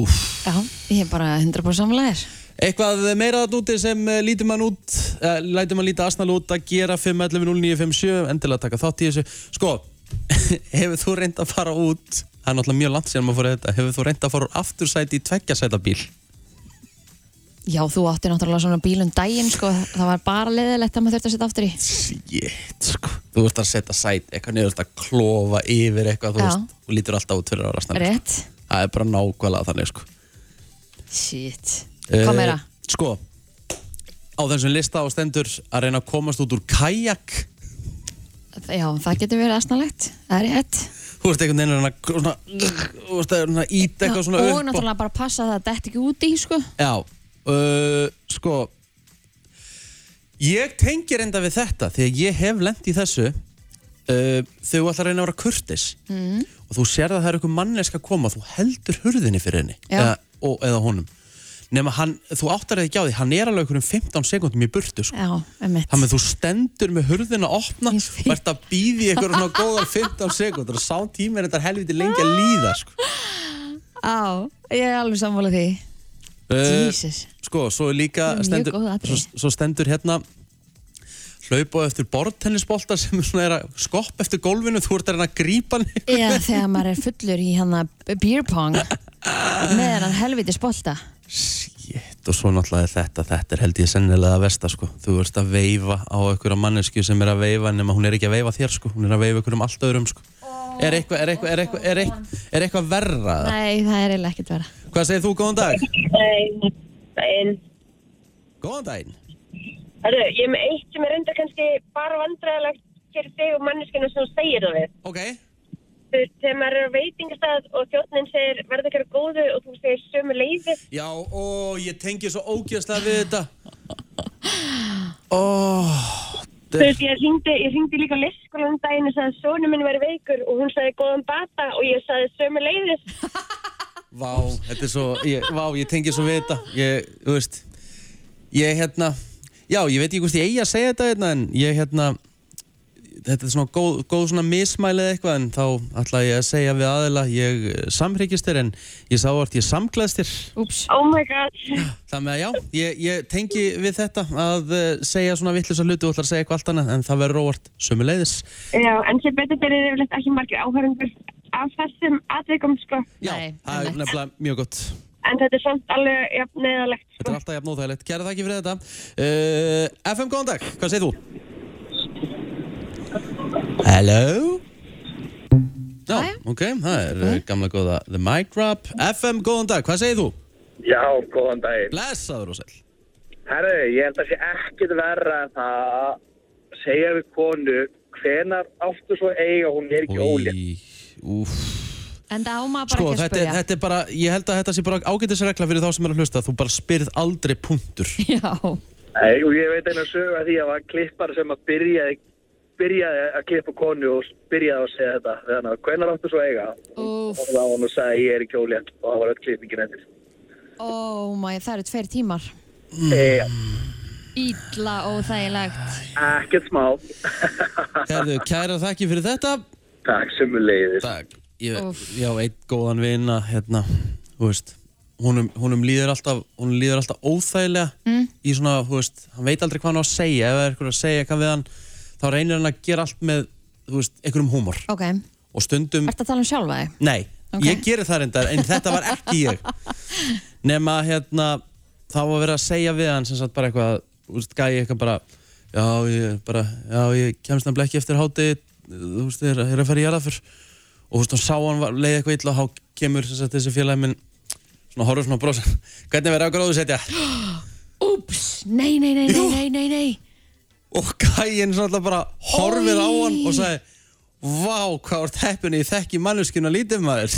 A: Úf.
B: Já, ég er bara 100% samlæðir.
A: Eitthvað meira þarna úti sem eh, lítur mann út, uh, lætur mann líta asnal út að gera 5.11.09.57, endilega taka þátt í þessu. Sko, hefur þú reynd að fara út, það er náttúrulega mjög langt síðan maður fór að þetta, hefur þú reynd að fara úr aftursæti í tveggjasæta bíl?
B: Já, þú átti náttúrulega svona bíl um daginn, sko. Það var bara leðilegt að maður þurfti að setja aftur í.
A: Shit, sko. Þú ert að setja sæt, eitthvað niður, þú ert að klofa yfir eitthvað, þú
B: Já.
A: veist, þú lítur alltaf út fyrir að vera asnal.
B: Rétt.
A: Það er bara nákvæmlega þannig, sko.
B: Shit. Hvað meira?
A: Eh, Sko, á þessum lista á stendur að reyna að komast út úr kajak.
B: Já, það getur verið aðsnalegt. Það er rétt.
A: Þú veist einhvern veginn að gr- svona, þú veist að svona ít eitthvað svona
B: og
A: upp
B: náttúrulega bara passa að það dett ekki úti, sko.
A: Já, uh, sko, ég tengi reynda við þetta því að ég hef lent í þessu uh, þegar þú ætlar að reyna að vera kurtis
B: Mm.
A: og þú sér að það er einhver mannesk að koma þú heldur hurðinni fyrir henni
B: Já.
A: eða, og, eða honum nema hann, þú áttar þig ekki á því, hann er alveg einhverjum 15 sekundum í burtu sko.
B: Já, emmitt.
A: Þannig að þú stendur með hurðina að opna og ert að býði í einhverjum svona góðar 15 sekundur og sá tíma er þetta helviti lengi að líða sko.
B: Á, ég er alveg sammála því.
A: Eh,
B: Jesus.
A: Sko, svo er líka
B: Það er mjög
A: stendur,
B: góð atriði.
A: svo, svo stendur hérna hlaupa á eftir bortennisbolta sem er svona er að skopp eftir gólfinu þú ert að reyna að grípa hann
B: Eða þegar maður er fullur í hann að beer pong með hann helviti spolta.
A: og svo náttúrulega þetta, þetta er held ég sennilega að versta sko, þú ert að veifa á einhverja mannesku sem er að veifa nema hún er ekki að veifa þér sko, hún er að veifa einhverjum allt öðrum sko Er eitthvað er eitthvað, er eitthvað, er eitthvað, er eitthvað verra? eða?
B: Nei, það er eiginlega ekkert vera.
A: Hvað segir þú, góðan dag?
I: Nei, daginn.
A: Góðan daginn
I: Herru, ég er með eitt sem er reyndar kannski bara vandræðilegt fyrir þig og manneskinu sem þú segir það við.
A: Ok.
I: Þú veist, þegar maður er á veitingastað og þjóttnin segir verða ekki góðu og þú segir sömu leiði.
A: Já, og ég tengi svo ógjastlega við þetta Óh
I: Þú veist, ég hringdi, ég hringdi líka leikskóla um daginn og sagði sonu minn væri veikur og hún sagði góðan bata og ég sagði sömu leiðis.
A: Vá, þetta er svo, ég, vá, ég tengi svo við þetta Ég, þú veist Ég, hérna, já, ég veit ekki hvort ég eigi að segja þetta hérna, En ég, hérna Þetta er svona góð, góð svona mismælið eitthvað En þá ætla ég að segja við aðila Ég eh, samhryggist þér en ég sá hvort ég samglaðist þér
B: Úps
I: Oh my god.
A: Þannig að já, ég, ég tengi við þetta Að eh, segja svona vittlis hluti og ætla að segja eitthvað allt annað En það verður róvart sömuleiðis
I: Já, en sem betur fyrir yfirleitt ekki margir áhörundur af þessum atvikum, sko.
A: Já, það er nefnilega mjög gott
I: En þetta er samt alveg jafn neðalegt,
A: Þetta er alltaf jafn óþægilegt. Kæra þakki fyrir þetta. Uh, FM, góðan dag. Hvað segir þú? Hello? Já, ok. Það er uh, gamla góða The Mic Drop. FM, góðan dag. Hvað segir þú?
J: Já, góðan daginn.
A: Blessaður og sæl.
J: Herru, ég held að sé ekkit verra en það að segja við konu hvenar áttu svo eiga hún er ekki ólétt.
B: En það á maður bara
A: Sko,
B: ekki að
A: þetta, er-
B: spyrja.
A: þetta er bara, ég held að þetta sé bara ágætisregla fyrir þá sem er að hlusta. Þú bara spyrð aldrei punktur.
B: Já.
J: Nei, og ég veit einu að sögu að því að það var klippar sem að byrjaði, byrjaði að klippa konu og byrjaði að segja þetta. Þannig að hvenar áttu svo eiga?
B: Úf,
J: Og þá hún og sagði ég er ekki ólétt og það var öll klippingin endur.
B: oh my, það eru tveir tímar.
J: Mm.
B: Ítla óþægilegt.
J: Ekkert smá.
A: Herðu, kæra þakki fyrir þetta.
J: Takk sem við leiðist.
A: Takk. Ég, ég á einn góðan vina, hérna, þú veist, honum, honum líður alltaf, honum líður alltaf óþægilega
B: Mm.
A: í svona, þú veist, hann veit aldrei hvað hann á að segja, ef það er eitthvað að segja eitthvað við hann, þá reynir hann að gera allt með þú veist, einhverjum húmor
B: Ok,
A: og stundum,
B: ertu að tala um sjálfa þig?
A: nei,
B: Ok.
A: ég geri það reyndar en þetta var ekki ég nema hérna, þá var verið að segja við hann sem sagt bara eitthvað, þú veist, gæi eitthvað bara, já, ég bara já, ég kemst nefnilega ekki eftir háti þú veist, ég er, ég er að fara í jarðaför og þú veist, hann sá hann var- leið eitthvað illa og þá kemur sem sagt þessi félagi minn svona horfur svona brosa, hvernig verður að gróðu setja
B: Úps, nei, nei, nei, nei, nei, nei, nei.
A: og gæinn svona alltaf bara horfir á hann og sagði Vá, hvað vart heppinni, ég þekki manneskinu að lítið maður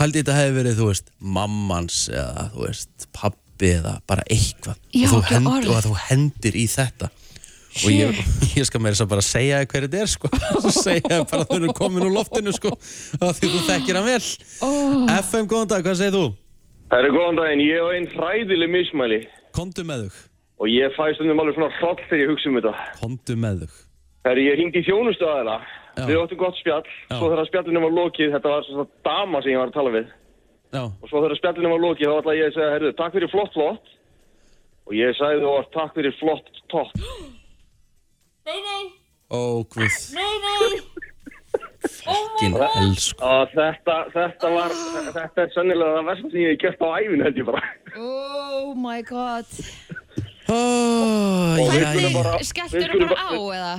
A: Pældi þetta hefði verið, þú veist, mammans eða, þú veist, pappi eða bara eitthvað
B: Já,
A: og, þú
B: ekki orð.
A: og að þú hendir í þetta og ég, ég skal meira þess að bara segja þér hver þetta er, sko segja þér bara að þau eru komin úr loftinu, sko af því þú þekkir hann vel
B: Oh.
A: FM, góðan dag, hvað segir þú?
L: Það eru góðan daginn, ég hef einn hræðileg mismæli
A: Komdu með þau
L: og ég fæ stundum alveg svona hroll þegar ég hugsa um þetta.
A: Komdu með þau
L: Það eru ég hringdi í þjónustu aðeina, við áttum gott spjall, svo þegar spjallinu var lokið, þetta var svona dama sem ég var að tala við.
A: Já.
L: Og svo þegar spjallinu var lokið þá ætla ég að segja, herru, takk fyrir flott flott. Og ég sagði þú var takk fyrir flott topp.
I: Nei, nei,
A: Ó, guð
I: nei, nei.
A: Ginn elsku.
L: Og þetta, þetta var, þetta er sennilega það versta sem ég hef gert á æfinu held ég bara.
B: Oh my god.
A: Oh,
L: Og við
B: Hvernig,
L: skulum bara- við
B: skelltur
L: skulum
B: bara á eða?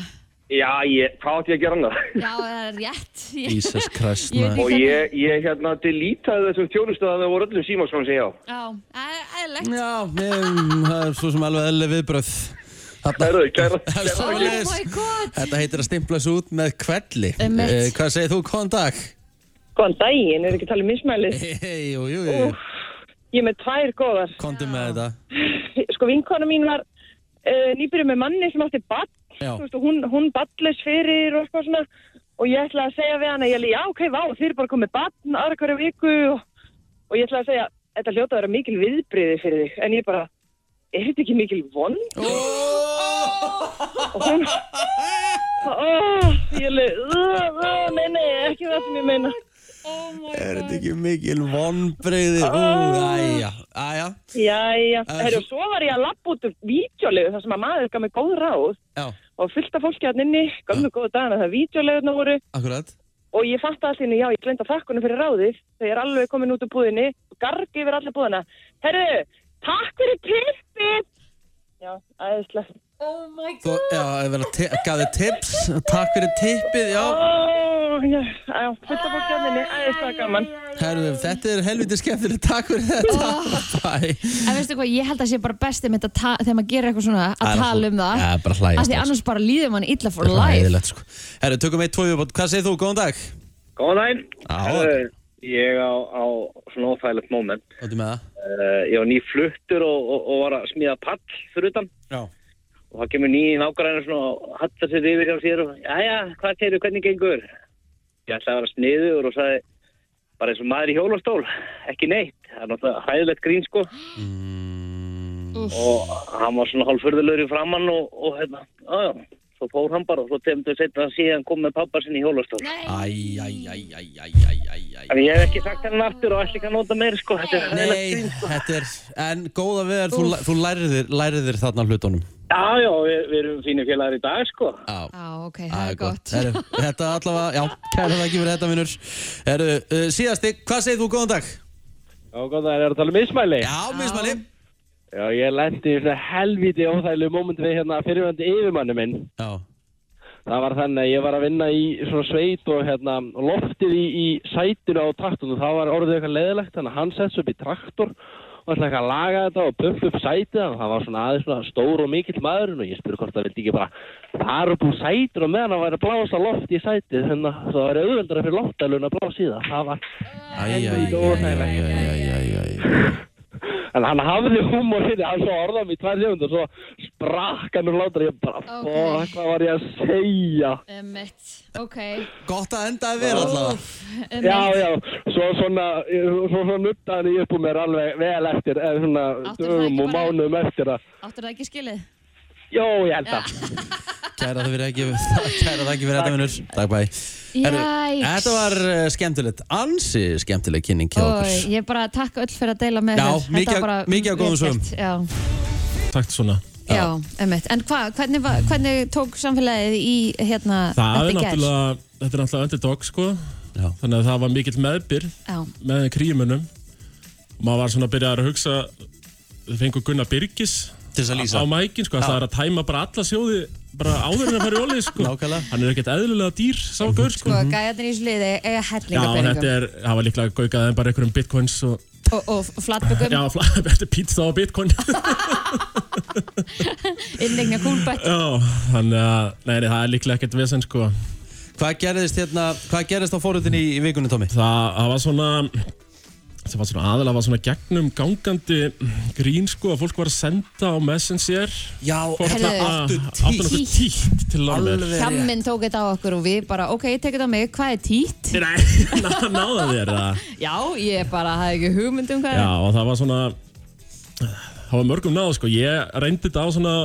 L: Já, ég, hvað átt ég að gera annað?
B: Já, það er rétt. Ég-
A: Jesus Christ,
B: Ég veit ekki
L: Og
B: hvernig-
L: ég, ég hérna delítaði þessum þjónustöðan það voru öllum símaskónum sem ég á.
B: Já, það er eðlegt.
A: Já, um, það er svo sem alveg eðli viðbröð
L: Kæra, kæra,
B: Oh my god.
A: Þetta heitir að stimpla sig út með kvelli
M: Einmitt.
A: eh, Hvað segir þú, góðan dag?
M: Góðan daginn, er ekki talið mismælið?
A: Hei, jú, jú, jú
M: Ég er með tvær góðar.
A: Komdu með þetta
M: Sko vinkona mín var uh, nýbyrju með manni sem átti badd,
A: Já.
M: þú veist, og hún, hún baddlis fyrir og eitthvað svona og ég ætlaði að segja við hana, ég ætlaði, já, ok, vá, þið eru bara komið badn aðra hverja viku og, og ég ætlaði að segja, þetta hljóta að vera mikil viðbriði fyrir þig, en ég bara, er þetta ekki mikil vonn? Og hún, oh, ég leið, uh, uh, nei, nei, ekki það sem ég meina.
A: Er þetta ekki mikil vonbreyði? Æja, æja
M: Jæja,
A: Eh,
M: herru, svo var ég að lappa út úr vítjólegu þar sem að maður gaf mig góð ráð
A: Já,
M: og fullt af fólki hann inni, gaf mig góða dagana það vítjólegurna voru
A: Ah. akkurat
M: og ég fatt allt inni, já, ég glenda þakkunum fyrir ráðið þegar ég er alveg komin út úr búðinni og gargi yfir alla búðina. Herru, takk fyrir pippið! Já, æðislega. Oh my
A: Þú, já, ég verið að te- gaf þér tips Takk fyrir tippið, já
M: Ó, já, já, fullt af fólki hann inni, æðislega gaman.
A: Herru, þetta er helviti skemmtileg Takk fyrir
M: Ah.
A: þetta Bye
B: En veistu hvað, ég held að sé bara besti með þetta ta- þegar maður gerir eitthvað svona
A: Það er
B: að tala um það.
A: Já, bara hlæja
B: Af Því
A: strax.
B: annars bara líður mann illa for
A: Þetta er
B: life.
A: hræðilegt, sko. Herru, tökum eitt, tvoju, hvað segir þú, góðan dag?
L: Góðan daginn.
A: Já.
L: Herðu, Ég á, á svona óþægilegt moment.
A: Hvað er með það?
L: Uh, ég var ný fluttur og, og, og var að smíða pall fyrir utan.
A: Já.
L: Og það kemur ný nágræna svona og hattar sér yfir hjá sér og Jæja, hvað segir þú, hvernig gengur? Ég ætlaði að vera sniður og sagði bara eins og maður í hjólastól, ekki neitt. Það er náttúrulega hæðilegt grín sko. Og hann var svona hálfurðulegur í framann og, og hérna, aðja, svo fór hann bara og svo tegum við setna að síðan kom með pappa sinni í hjólastól. Nei.
A: Æj, æj, æj, æj, æj, æj, æj, æj.
L: En ég hef ekki sagt henni aftur og ætla ekki að nota meir sko. Þetta er hæðilegt
A: Nei,
L: grín. sko.
A: þetta er, en góða við er, þú, læ- þú læriðir, læriðir þarna hlutunum.
L: Já, já, við, við erum fínir félagar í dag sko.
A: Já.
B: Já, ok, það er gott.
A: Heru, þetta allavega, já, kæra það ekki fyrir þetta, vinnur. Heru, uh, síðasti, hvað segir þú, góðan dag?
N: Já, góðan daginn, er það að tala um mismæli?
A: Já, mismæli.
N: Já, ég lendi í svona helvíti óþægilegu móment við hérna fyrirvændi yfirmanni minn.
A: Já.
N: Það var þannig að ég var að vinna í svona sveit og hérna loftið í, í sætinu á traktornu. Það var orðið eitthvað leðilegt, þannig að hann sett svo upp í traktor og ætlaði eitthvað að laga þetta og pumpa upp sætið. Þannig að það var svona aðeins svona stór og mikill maðurinn og ég spurði hvort það vildi ekki bara fara upp úr sætinu og meðan hann væri að blása loft í sætið. Þannig að það væri auðveldara fyrir loftælun að blása í það. Það var
A: Æj, æj, æj, æj, æj, æj, æj.
N: En hann hafði húmor hérna, hann svo orðað mér í tvær segundur og svo sprakk hann úr látur ég bara,
B: Ok.
N: okay. hvað var ég að segja?
B: Emmett, Um ok. um
A: Gott að enda að vera allavega.
B: Einmitt.
N: Já, já, svo svona, svo svona nuttaði ég upp úr mér alveg vel eftir, eða svona
B: Áttu það
N: dögum
B: ekki
N: og
B: bara-
N: mánuðum eftir að,
B: Áttur það ekki skilið?
N: jó, ég held að.
A: Kæra það fyrir ekki, kæra það ekki fyrir þetta, vinnur. Takk, bæ. Heru,
B: Jæks.
A: þetta var uh, skemmtilegt, ansi skemmtileg kynning hjá okkur.
B: Oj, Ég bara takk öll fyrir að deila með
A: Já,
B: þér. Þetta
A: mikið-
B: var bara
A: mikið af góðum
B: vel gert, Já,
O: Takk svona
B: Já, emmitt. En hva, hvernig, var- hvernig tók samfélagið í hérna
O: Það er
B: þetta í gær?
O: náttúrulega, þetta er náttúrulega underdog sko Já. Þannig að það var mikill meðbyr
B: Já.
O: með krímunum og maður var svona að byrja að hugsa þau fengur Gunnar Byrgis
A: Til þess að lýsa.
O: á mækin sko,
A: Já.
O: það er að tæma bara alla sjóði bara áður en að fara í ólið sko Nákvæmlega Hann er ekkert eðlulega dýr, sá
A: Mhm.
O: gaur sko
B: Sko, gæðarnir í þessu liði eiga
O: Já,
B: hellinga
O: þetta
B: peningum
O: er, það var líklega gaukað en bara einhverjum bitcoins og
B: og, og flatbökum,
O: Já, fla- þetta er pizza og bitcoin
B: innlegna kúlbætt.
O: Já, þannig að, nei, nei, það er líklega ekkert vesen, sko.
A: Hvað gerðist hérna, hvað gerðist á fórutinni í, í vikunni, Tómi?
O: Það, það var svona, það var svona aðalega, var svona gegnum gangandi grín, sko, að fólk var að senda á Messenger.
A: Já,
B: heyrðu, áttu títt.
O: Áttu nokkuð títt til Lormer.
B: Hjamminn tók þetta á okkur og við bara, ok, ég tek þetta á mig, hvað er títt?
O: Nei, ná- náða þér það.
B: Já, ég bara hafði ekki hugmynd um hvað
O: Já,
B: er.
O: og það var svona, það var mörgum náð, sko. Ég reyndi þetta á svona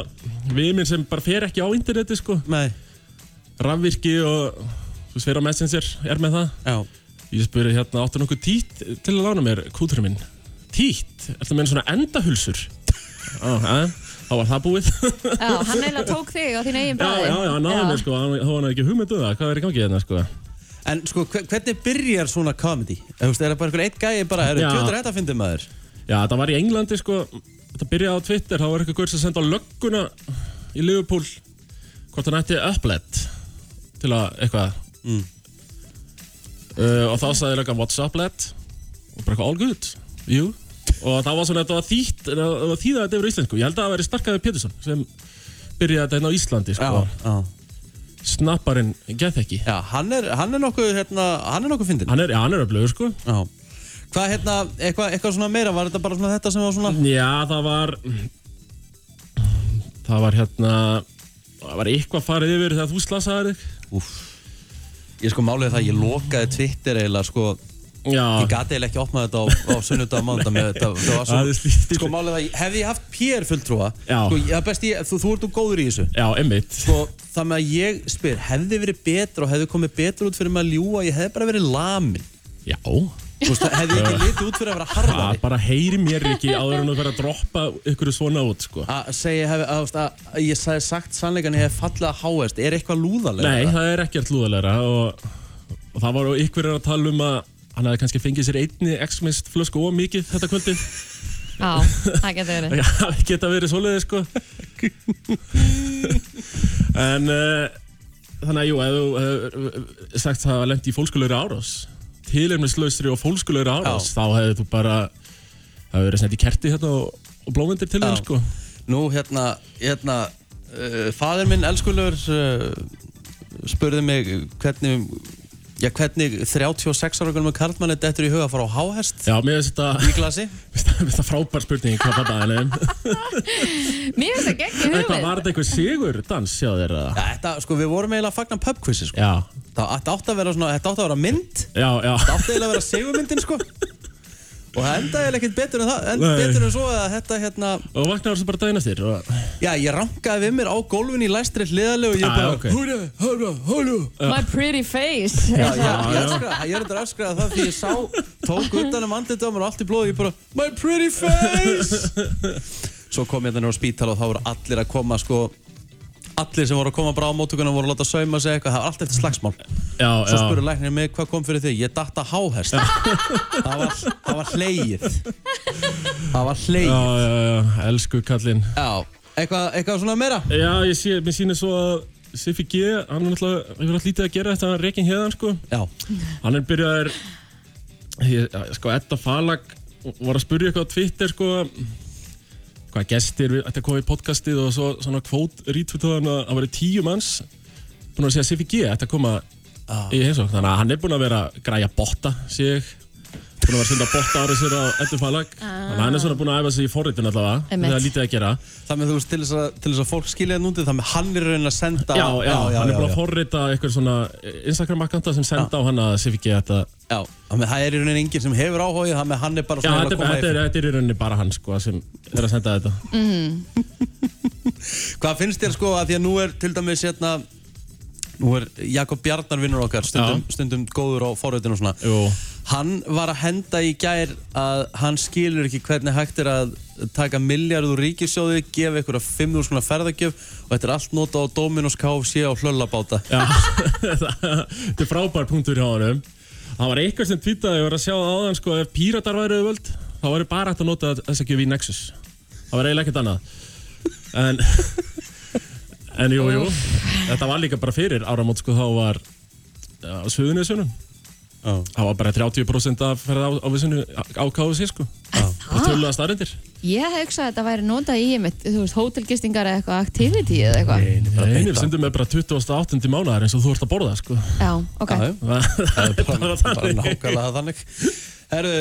O: við minn sem bara fer ekki á interneti, sko.
A: Nei.
O: Rafvirki og, þú veist, fer á Messenger, er með það.
A: Já.
O: Ég spurði hérna, áttu nokkuð títt til að lána mér, kúturinn minn? Títt? Er það meina svona endahulsur? Á, eh? Þá var það búið.
B: Já, hann eiginlega tók þig á þín eigin
O: Já,
B: bræði.
O: já, já, náðu mér sko, hann- þá var hann ekki hugmynd um það, hvað er í gangi hérna sko
A: En sko, hve- hvernig byrjar svona comedy? Þú veist, er það bara einhver eitt gæi bara, er
O: Já.
A: það tjóður þetta að fyndi maður?
O: Já, það var í Englandi sko, þetta byrjaði á Twitter, þá var eitthvað gaur sem senda á lögguna í Liverpool hvort hann ætti upplet til að eitthvað
A: Mm.
O: uh, og þá sagði löggan what's upplet og bara eitthvað all good, jú og það var svona, þetta var þýtt, það var þýðað þetta yfir á íslensku, ég held að það væri starkaði Pétursson sem byrjaði þetta hérna á Íslandi sko
A: já.
O: Snapparinn gett ekki
A: Já, hann er, hann er nokkuð, hérna, hann er nokkuð fyndin
O: Hann er, já, hann er öflugur sko
A: Já Hvað, hérna, eitthvað, eitthvað svona meira, var þetta bara svona þetta sem var svona
O: Já, það var Það var hérna Það var eitthvað farið yfir þegar þú slasaði þig
A: Úff Ég sko málið er það, að ég lokaði Twitter eiginlega, sko
O: Já.
A: Ég gati eiginlega ekki opnað þetta á, á sunnudag og mándag með þetta Það var
O: Það er
A: svo, sko málið er það, að hefði ég haft PR fulltrúa
O: Já.
A: Sko, ég, það er best ég, þú, þú ert nú góður í þessu
O: Já, einmitt
A: Sko, það með að ég spyr, hefði verið betra og hefði komið betur út fyrir mig að ljúa Ég hefði bara verið lamin
O: Já Öh,
A: Þú veist, það hefði ég ekki litið út fyrir að vera
O: Það
A: harðari
O: bara heyri mér ekki áður en þú fer að droppa ykkur svona út sko
A: Að segja, hef, að, þú veist, að, að ég sagði sagt sannleikan ég hef fallið að háast Er eitthvað lúðalega?
O: Nei, það er ekkert lúðalegra og, og það var ykkur að tala um að hann hefði kannski fengið sér einni X-mist flösku of mikið þetta kvöldið
B: Já, það getur verið.
O: Það geta verið svoleiði sko En uh, þannig að jú, ef þú hefur sagt það að lendi í fólkskulegri árás Tilefnislausri og fólkskulegri árás Þá hefði þú bara, það hefur verið sendið kerti hérna og, og blómyndir til þeim sko
A: Nú hérna, hérna uh, Fadir minn elskulegur uh, spurði mig hvernig Já, hvernig 36 ára gulmur karlmann er dettur í huga að fara á háhest
O: Já, mér finnst þetta
A: Í glasi
O: Mér finnst þetta frábær spurning hvað það er nefn
B: Mér finnst það gegn í
O: Var
B: hugmynd.
O: þetta einhver sigur dans hjá þér eða?
A: Þetta, sko, við vorum eiginlega að fagna pubquizi, sko
O: Já
A: Það þetta átti að vera svona, þetta átti að vera mynd
O: Já, já
A: Þetta átti eiginlega að vera sigurmyndin, sko Og það endaði eiginlega ekkert betur en það en
O: Nei.
A: Betur en svo að þetta, hérna
O: Og vaknaður svo bara daginn eftir og...
A: Já, ég rankaði við mér á gólfinu í læstri hliðalegu og ég
O: Ah,
A: bara
O: ok.
A: Húra, húra, húra
B: My pretty face.
A: Já, já, ég öskraði, ég er þetta öskraði það því ég sá, tók utan um andlitið á mér og allt í blóði, ég bara, my pretty face! Svo kom ég þannig á spítal og þá voru allir að koma, sko, allir sem voru að koma bara á mótuguna voru að láta sauma sig eitthvað, það var allt eftir slagsmál.
O: Já,
A: Svo
O: já.
A: spurði læknir mig, hvað kom fyrir þig? Ég datt að háhest. það var, það var hleyið. Það var hleyið.
O: Já, já, já, elsku kallinn
A: Já, eitthvað, eitthvað svona meira?
O: Já, ég sé, mér sýnir svo að Siffi G, hann er náttúrulega, hann er alltaf lítið að gera þetta, hann er reikinn hérðan, sko.
A: Já.
O: Hann er byrjaður, ég, sko, Edda Falag var að spyrja eitthvað á Twitter, sko, hvað gestir við, þetta komið í podcastið og svo svona kvót rítfutaðan að það væri tíu manns, búin að segja að Siffi G, þetta koma
A: Ah.
O: í heimsókn, þannig að hann er búin að vera að græja botta, sé ég, búin að vera að senda botta árið sér á Edda Falag, þannig að hann er svona búin að æfa sig í forritun allavega,
A: Einmitt.
O: þegar lítið að gera.
A: Það með þú veist, til þess að, til þess að fólk skilja það núndið, það með hann er raunin að senda...
O: já, já, hann er búin
A: já.
O: að forrita eitthvað svona eh, Instagram-akkanta sem senda á hann að Siviki þetta
A: Já, það með það er í rauninni enginn sem hefur áhugið, það með hann er bara
O: Já,
A: svona
O: þetta, er- þetta, er, þetta er í rauninni bara hann sko sem er að senda þetta
A: Hvað finnst þér sko að því að nú er til dæmis hérna Nú er Jakob Bjarnar vinnur okkar stundum, stundum góður á forröðinu og svona
O: Jú.
A: Hann var að henda í gær að hann skilur ekki hvernig hægt er að taka miljard úr ríkissjóði, gefa ykkur að 5.000 svona ferðagjöf og þetta er allt nota á Dominos KFC og hlöllabáta.
O: Já, þetta er frábær punktur hjá honum. Það var eitthvað sem tvítið að ég var að sjá áðan sko ef píratar væru völd þá væri bara hægt að nota þessa gjöf í Nexus. Það var eiginlega ekkert annað. En, en jú, jú, þetta var líka bara fyrir áramót sko þá var á Suðunisjónum. Það var bara 30% af ferða á vissinu á KFC sko. Og tölulega staðrindir.
B: Ég hugsa að þetta væri notað í einmitt, þú veist, hótelgistingar eða eitthvað, activity eða eitthvað.
O: Nei, við sendum með bara 28. mánuðar eins og þú ert að borða sko.
B: Já, ok.
O: Það er bara
A: Bara nákvæmlega þannig. Herru,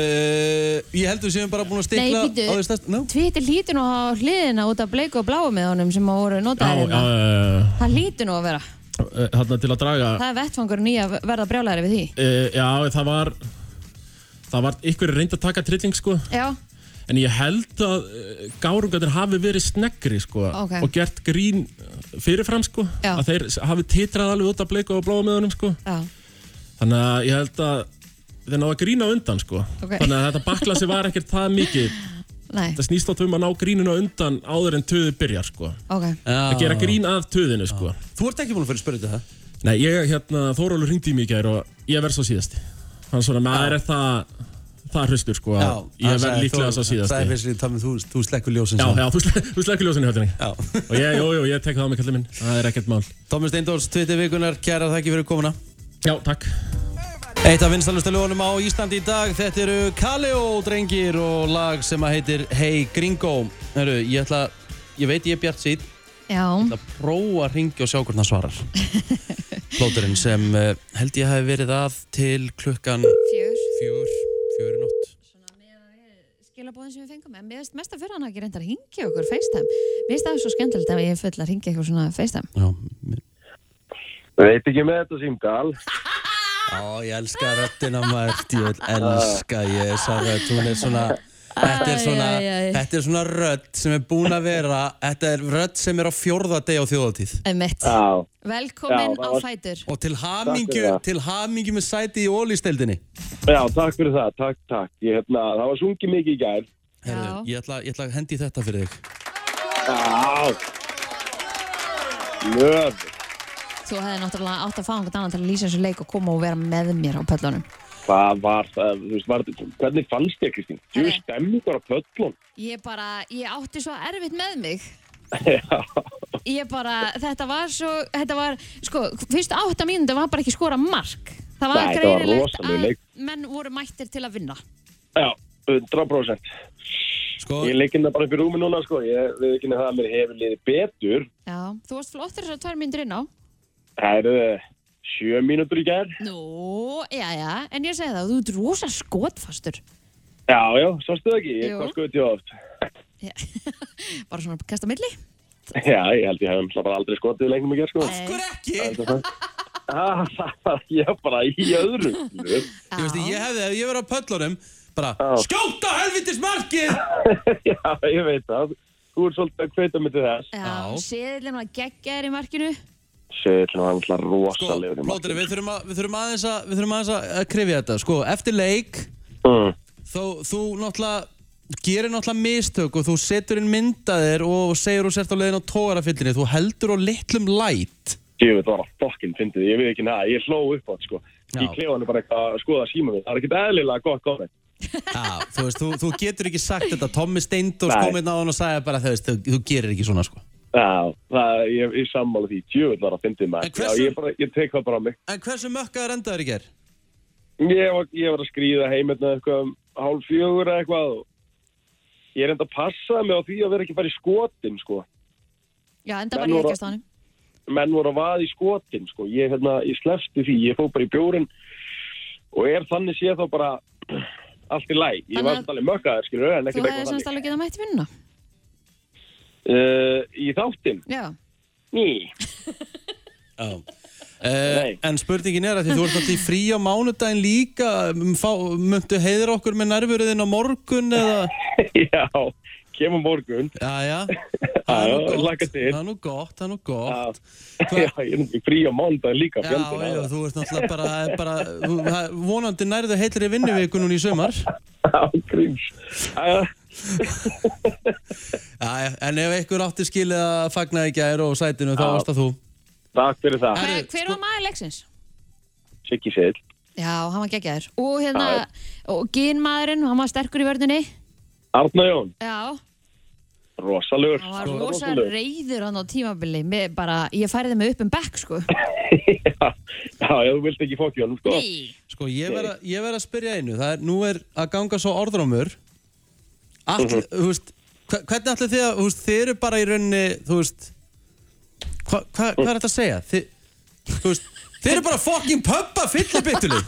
A: ég heldur sem bara búin
B: Nei,
A: að stikla
B: býtu,
A: á því stærst.
B: tvittir lítur nú á hliðina út af bleiku og bláu með honum sem að voru
O: Já,
B: notaðir
O: já,
B: hérna.
O: já, já.
B: Það lítur nú að vera.
O: Þarna til að draga
B: Það er vettfangur nýja að verða brjálæri við því.
O: uh, Já, það var Það var ykkur reynd að taka trilling sko
B: Já,
O: En ég held að uh, gárungarnir hafi verið sneggri sko
B: Ok.
O: Og gert grín fyrirfram sko
B: Já.
O: Að þeir hafi titrað alveg út af bleika og bláa með honum sko
B: já.
O: Þannig að ég held að þeir náðu að grína á undan sko
B: Ok.
O: Þannig að þetta baklasi var ekkert það mikið
B: Nei,
O: Það snýst átt um að ná grínuna á undan áður en töðu byrjar sko
B: ok.
O: að gera grín að töðinu sko. Þú ert ekki búin að fyrir spyrja þetta? Nei, ég, hérna, Þórólur ringdi í mig í gær og ég verð svo síðasti. Hann svona, maður er það, það hraustur sko, að ég verð líklega
A: Það
O: svo
A: er
O: síðasti.
A: fyrst í tómið, þú, þú slekkur ljósin.
O: Já, já, þú slekk- þú slekkur ljósinni höfðinni. Já. Og ég, jú, jú, ég tek það á mig kallið minn. Það er ekkert mál.
A: Tómi Steindors, Twitter vikunar, kæra þakki fyrir komuna.
O: Já, takk.
A: Eitt af vinstalustu lögunum á Íslandi í dag, þetta eru Kaleo drengir og lag sem að heitir Hey Gringo. Heru, ég ætla, ég veit ég er bjart sýt,
B: Já,
A: ætla að prófa að ringja og sjá hvernig það svarar. Plóturinn sem uh, held ég hafi verið að til klukkan
B: fjör.
A: fjör, fjör í nótt.
B: Skilabóðin sem við fengum, en mér finnst mest að fyrir hann að gera að ringja okkur FaceTime. Mér finnst það svo skemmtilegt að ég er full að ringja eitthvað svona FaceTime.
N: Veit ekki með þetta símdal.
A: Ó, ég elska röttina maður, ég vil elska ég þessa rött, hún er svona, þetta er svona,
B: Æ, æ, æ.
A: þetta er svona rött sem er búin að vera, þetta er rött sem er á fjórða deg á þjóðatíð.
B: Emmett.
A: Já.
B: Velkomin
A: Já,
B: á
A: það var-
B: Fætur.
A: Og til hamingju,
N: það.
A: til hamingju með sæti í ólisteldinni.
N: Já, takk fyrir það, takk, takk. Ég, hefna, það var sungið mikið í gær.
A: Herðu, ég ætla, ég ætla að hendi í þetta fyrir þig.
N: Já. Löf.
B: Þú hefði náttúrulega átt að fá einhvern annan til að lýsa þessu leik og koma og vera með mér á pöllunum.
N: Hvað var það, þú veist, var, hvernig fannst ég, Kristín? Þú veist, stemmingur á pöllun.
B: Ég bara, ég átti svo erfitt með mig.
N: Já.
B: Ég bara, þetta var svo, þetta var, sko, fyrstu átta mínúti var bara ekki skora mark. Það var
N: Nei, þetta var
B: greinilegt
N: rosalegur
B: að
N: leik.
B: menn voru mættir til að vinna.
N: Já, 100%.
A: Sko.
N: Ég leikinn það bara upp í rúmi núna, sko. Ég veit ekki það að mér hefur liðið betur.
B: Já, þú varst flottur þessar tvær mínútur inn á.
N: Það eru eh, sjö mínútur í gær.
B: Nú, já, já, en ég segi það, þú ert rosa skotfastur.
N: Já, já, sástu það ekki?
B: Jú.
N: Ég, hvað skoðið ég oft?
B: Bara svona kasta milli.
N: Já, ég held ég hef náttúrulega bara aldrei skotið í leiknum í gær, sko.
B: Af hverju
A: ekki?
N: Ah, Ég er bara í öðru. skilur.
A: Ég veist, ég hefði, ef ég verið á pöllunum, bara, skjóta helvitis markið!
N: Já, ég veit það. Þú ert svolítið að hveita mig til þess.
B: Já, séðilinn var geggjaður í markinu.
N: Sjöðlun var alltaf rosalegur í
A: Plóteri, Sko, við þurfum, að, við þurfum aðeins að, við þurfum aðeins að að krifja þetta, sko, eftir leik,
N: mm.
A: þó, þú náttúrulega gerir náttúrulega mistök og þú setur inn myndaðir og segir og sért á leiðin á tógarafyllinni, þú heldur á litlum læt.
N: Jú, þetta var að fokkin fyndið, ég veit ekki neða, ég hló upp á þetta sko. Ég klefa hann bara eitthvað að skoða síma minn, það er ekkert eðlilega gott komið.
A: Já, þú veist, þú, þú getur ekki sagt þetta, Tommi Steindors
N: Nei.
A: kom inn á hann og sagði bara, þú veist, þú, þú gerir ekki svona, sko.
N: Já, það, ég, ég sammála því, djöfull var að fyndið maður.
A: hversu-
N: Já, ég, bara, ég tek það bara á mig.
A: En hversu mökkaður endaður í ger?
N: Ég var, ég var að skrýða heimilna eitthvað um hálf fjögur eða eitthvað og ég er enda að passa mig á því að vera ekki bara í skotin sko.
B: Já, enda
N: Menn
B: bara í
N: voru-
B: ekki á stanum.
N: menn voru að vaða í skotin sko. ég, hérna, ég slefsti því, ég fóð bara í bjórin og er þannig séð þá bara allt í læg ég
B: Þannig
N: var
B: að-
N: alltaf alveg mökkaður skilur en
B: Þú
N: ekkert
B: hefði
N: eitthvað
B: semst
N: þannig
B: alveg getað mætt vinna.
N: uh, í þáttin
B: Já.
N: ný
A: Já. Uh, en spurningin er að því þú ert alltaf í frí á mánudaginn líka, um, fá- muntu heiðra okkur með nærvöruðin á morgun eða?
N: Já, kemur morgun.
A: Já, já.
N: Það
A: nú gott.
N: Laka til.
A: Það er nú gott, það er nú gott.
N: Já, ég er náttúrulega frí á mándag líka.
A: Já,
N: fjandinn,
A: já,
N: að-
A: þú ert náttúrulega bara, það er bara þú- það- vonandi nærðu heitri vinnuviku núna í sumar.
N: Jæja.
A: Jæja, en ef einhver átti skilið að fagna í gær og sætinu, þá
N: Já.
A: varst það þú.
N: Takk fyrir það.
B: Hver, hver var maður leiksins?
N: Siggi Seil.
B: Já, hann var geggjaður. Og hérna, og gínmaðurinn, hann var sterkur í vörðinni.
N: Arna Jón,
B: Já,
N: rosalegur.
B: hann var rosa reyður hann á tímabili. Mér bara, ég færði mig upp um bekk, sko.
N: Já, já, þú vilt ekki fokkja hann, sko.
A: Sko, ég verð að- ég verð að spyrja einu, það er, nú er að ganga svo orðrámur. All,
N: Mhm.
A: þú veist, hva- hvernig ætla þið að, þú veist, þið eru bara í rauninni, þú veist, hva, hva, hvað er þetta að segja? Þið, þú veist, þið eru bara fucking pöppa fyllibittunum.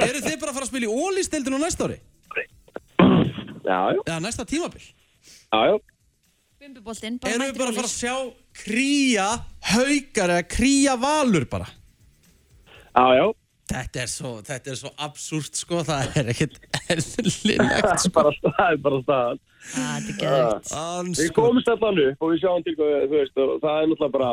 A: eru þið bara að fara að spila í ólistildinu næsta ári?
N: Já, já.
A: Eða næsta tímabil?
N: Já, já.
B: Bumbuboltinn, bara
A: Erum
B: mættur
A: við bara að
B: á
A: fara að
B: leik.
A: sjá kría haukar eða kría valur bara?
N: Já, já.
A: Þetta er svo, þetta er svo absúrt sko, það er ekkert erðlilegt sko.
N: bara staðan, bara staðan. Ah.
B: Það Ah, er
A: geðvægt.
N: Við komumst allan upp og við sjáum til hvað, þú veist, og það er náttúrulega bara,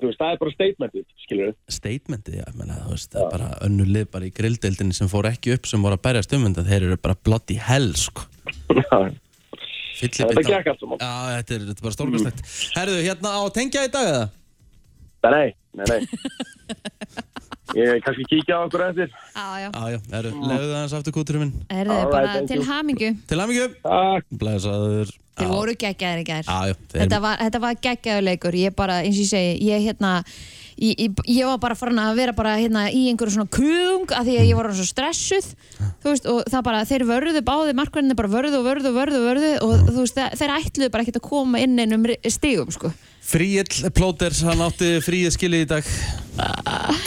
N: þú veist, það er bara statementið, skilur við.
A: Statementið, já, ég menna, þú veist, það er bara önnur lið bara í grilldeildinni sem fór ekki upp sem voru að berjast um þetta, þeir eru bara bloody hell sko. Fyllibita.
N: Þetta gekk allt saman. Mm.
A: Já, þetta er, þetta er bara stórkastlegt. Herðu, hérna á tengja í dag eða?
N: Nei, nei, nei. Ég kannski kíkja á okkur eftir.
B: Já, já.
A: Já, já, herru, leiðu það hans aftur kúturinn minn.
B: Er þið bara til hamingju.
A: Til hamingju.
N: Takk.
A: Blæsaður.
B: Þið voru geggjaðir í gær.
A: Já, já, þeir-
B: Þetta var, þetta var geggjaður leikur, ég bara, eins og ég segi, ég hérna, ég, ég, ég var bara farin að vera bara hérna í einhverju svona kuðung af því að ég var orðin svo stressuð, þú veist, og það bara, þeir vörðu báði, markverðinni bara vörðu og vörðu og vörðu og vörðu og þú veist, þeir, þeir ætluðu bara ekkert að koma inn einum stigum, sko. Ah.
A: Fríill Plóters, hann átti fríið skilið í dag.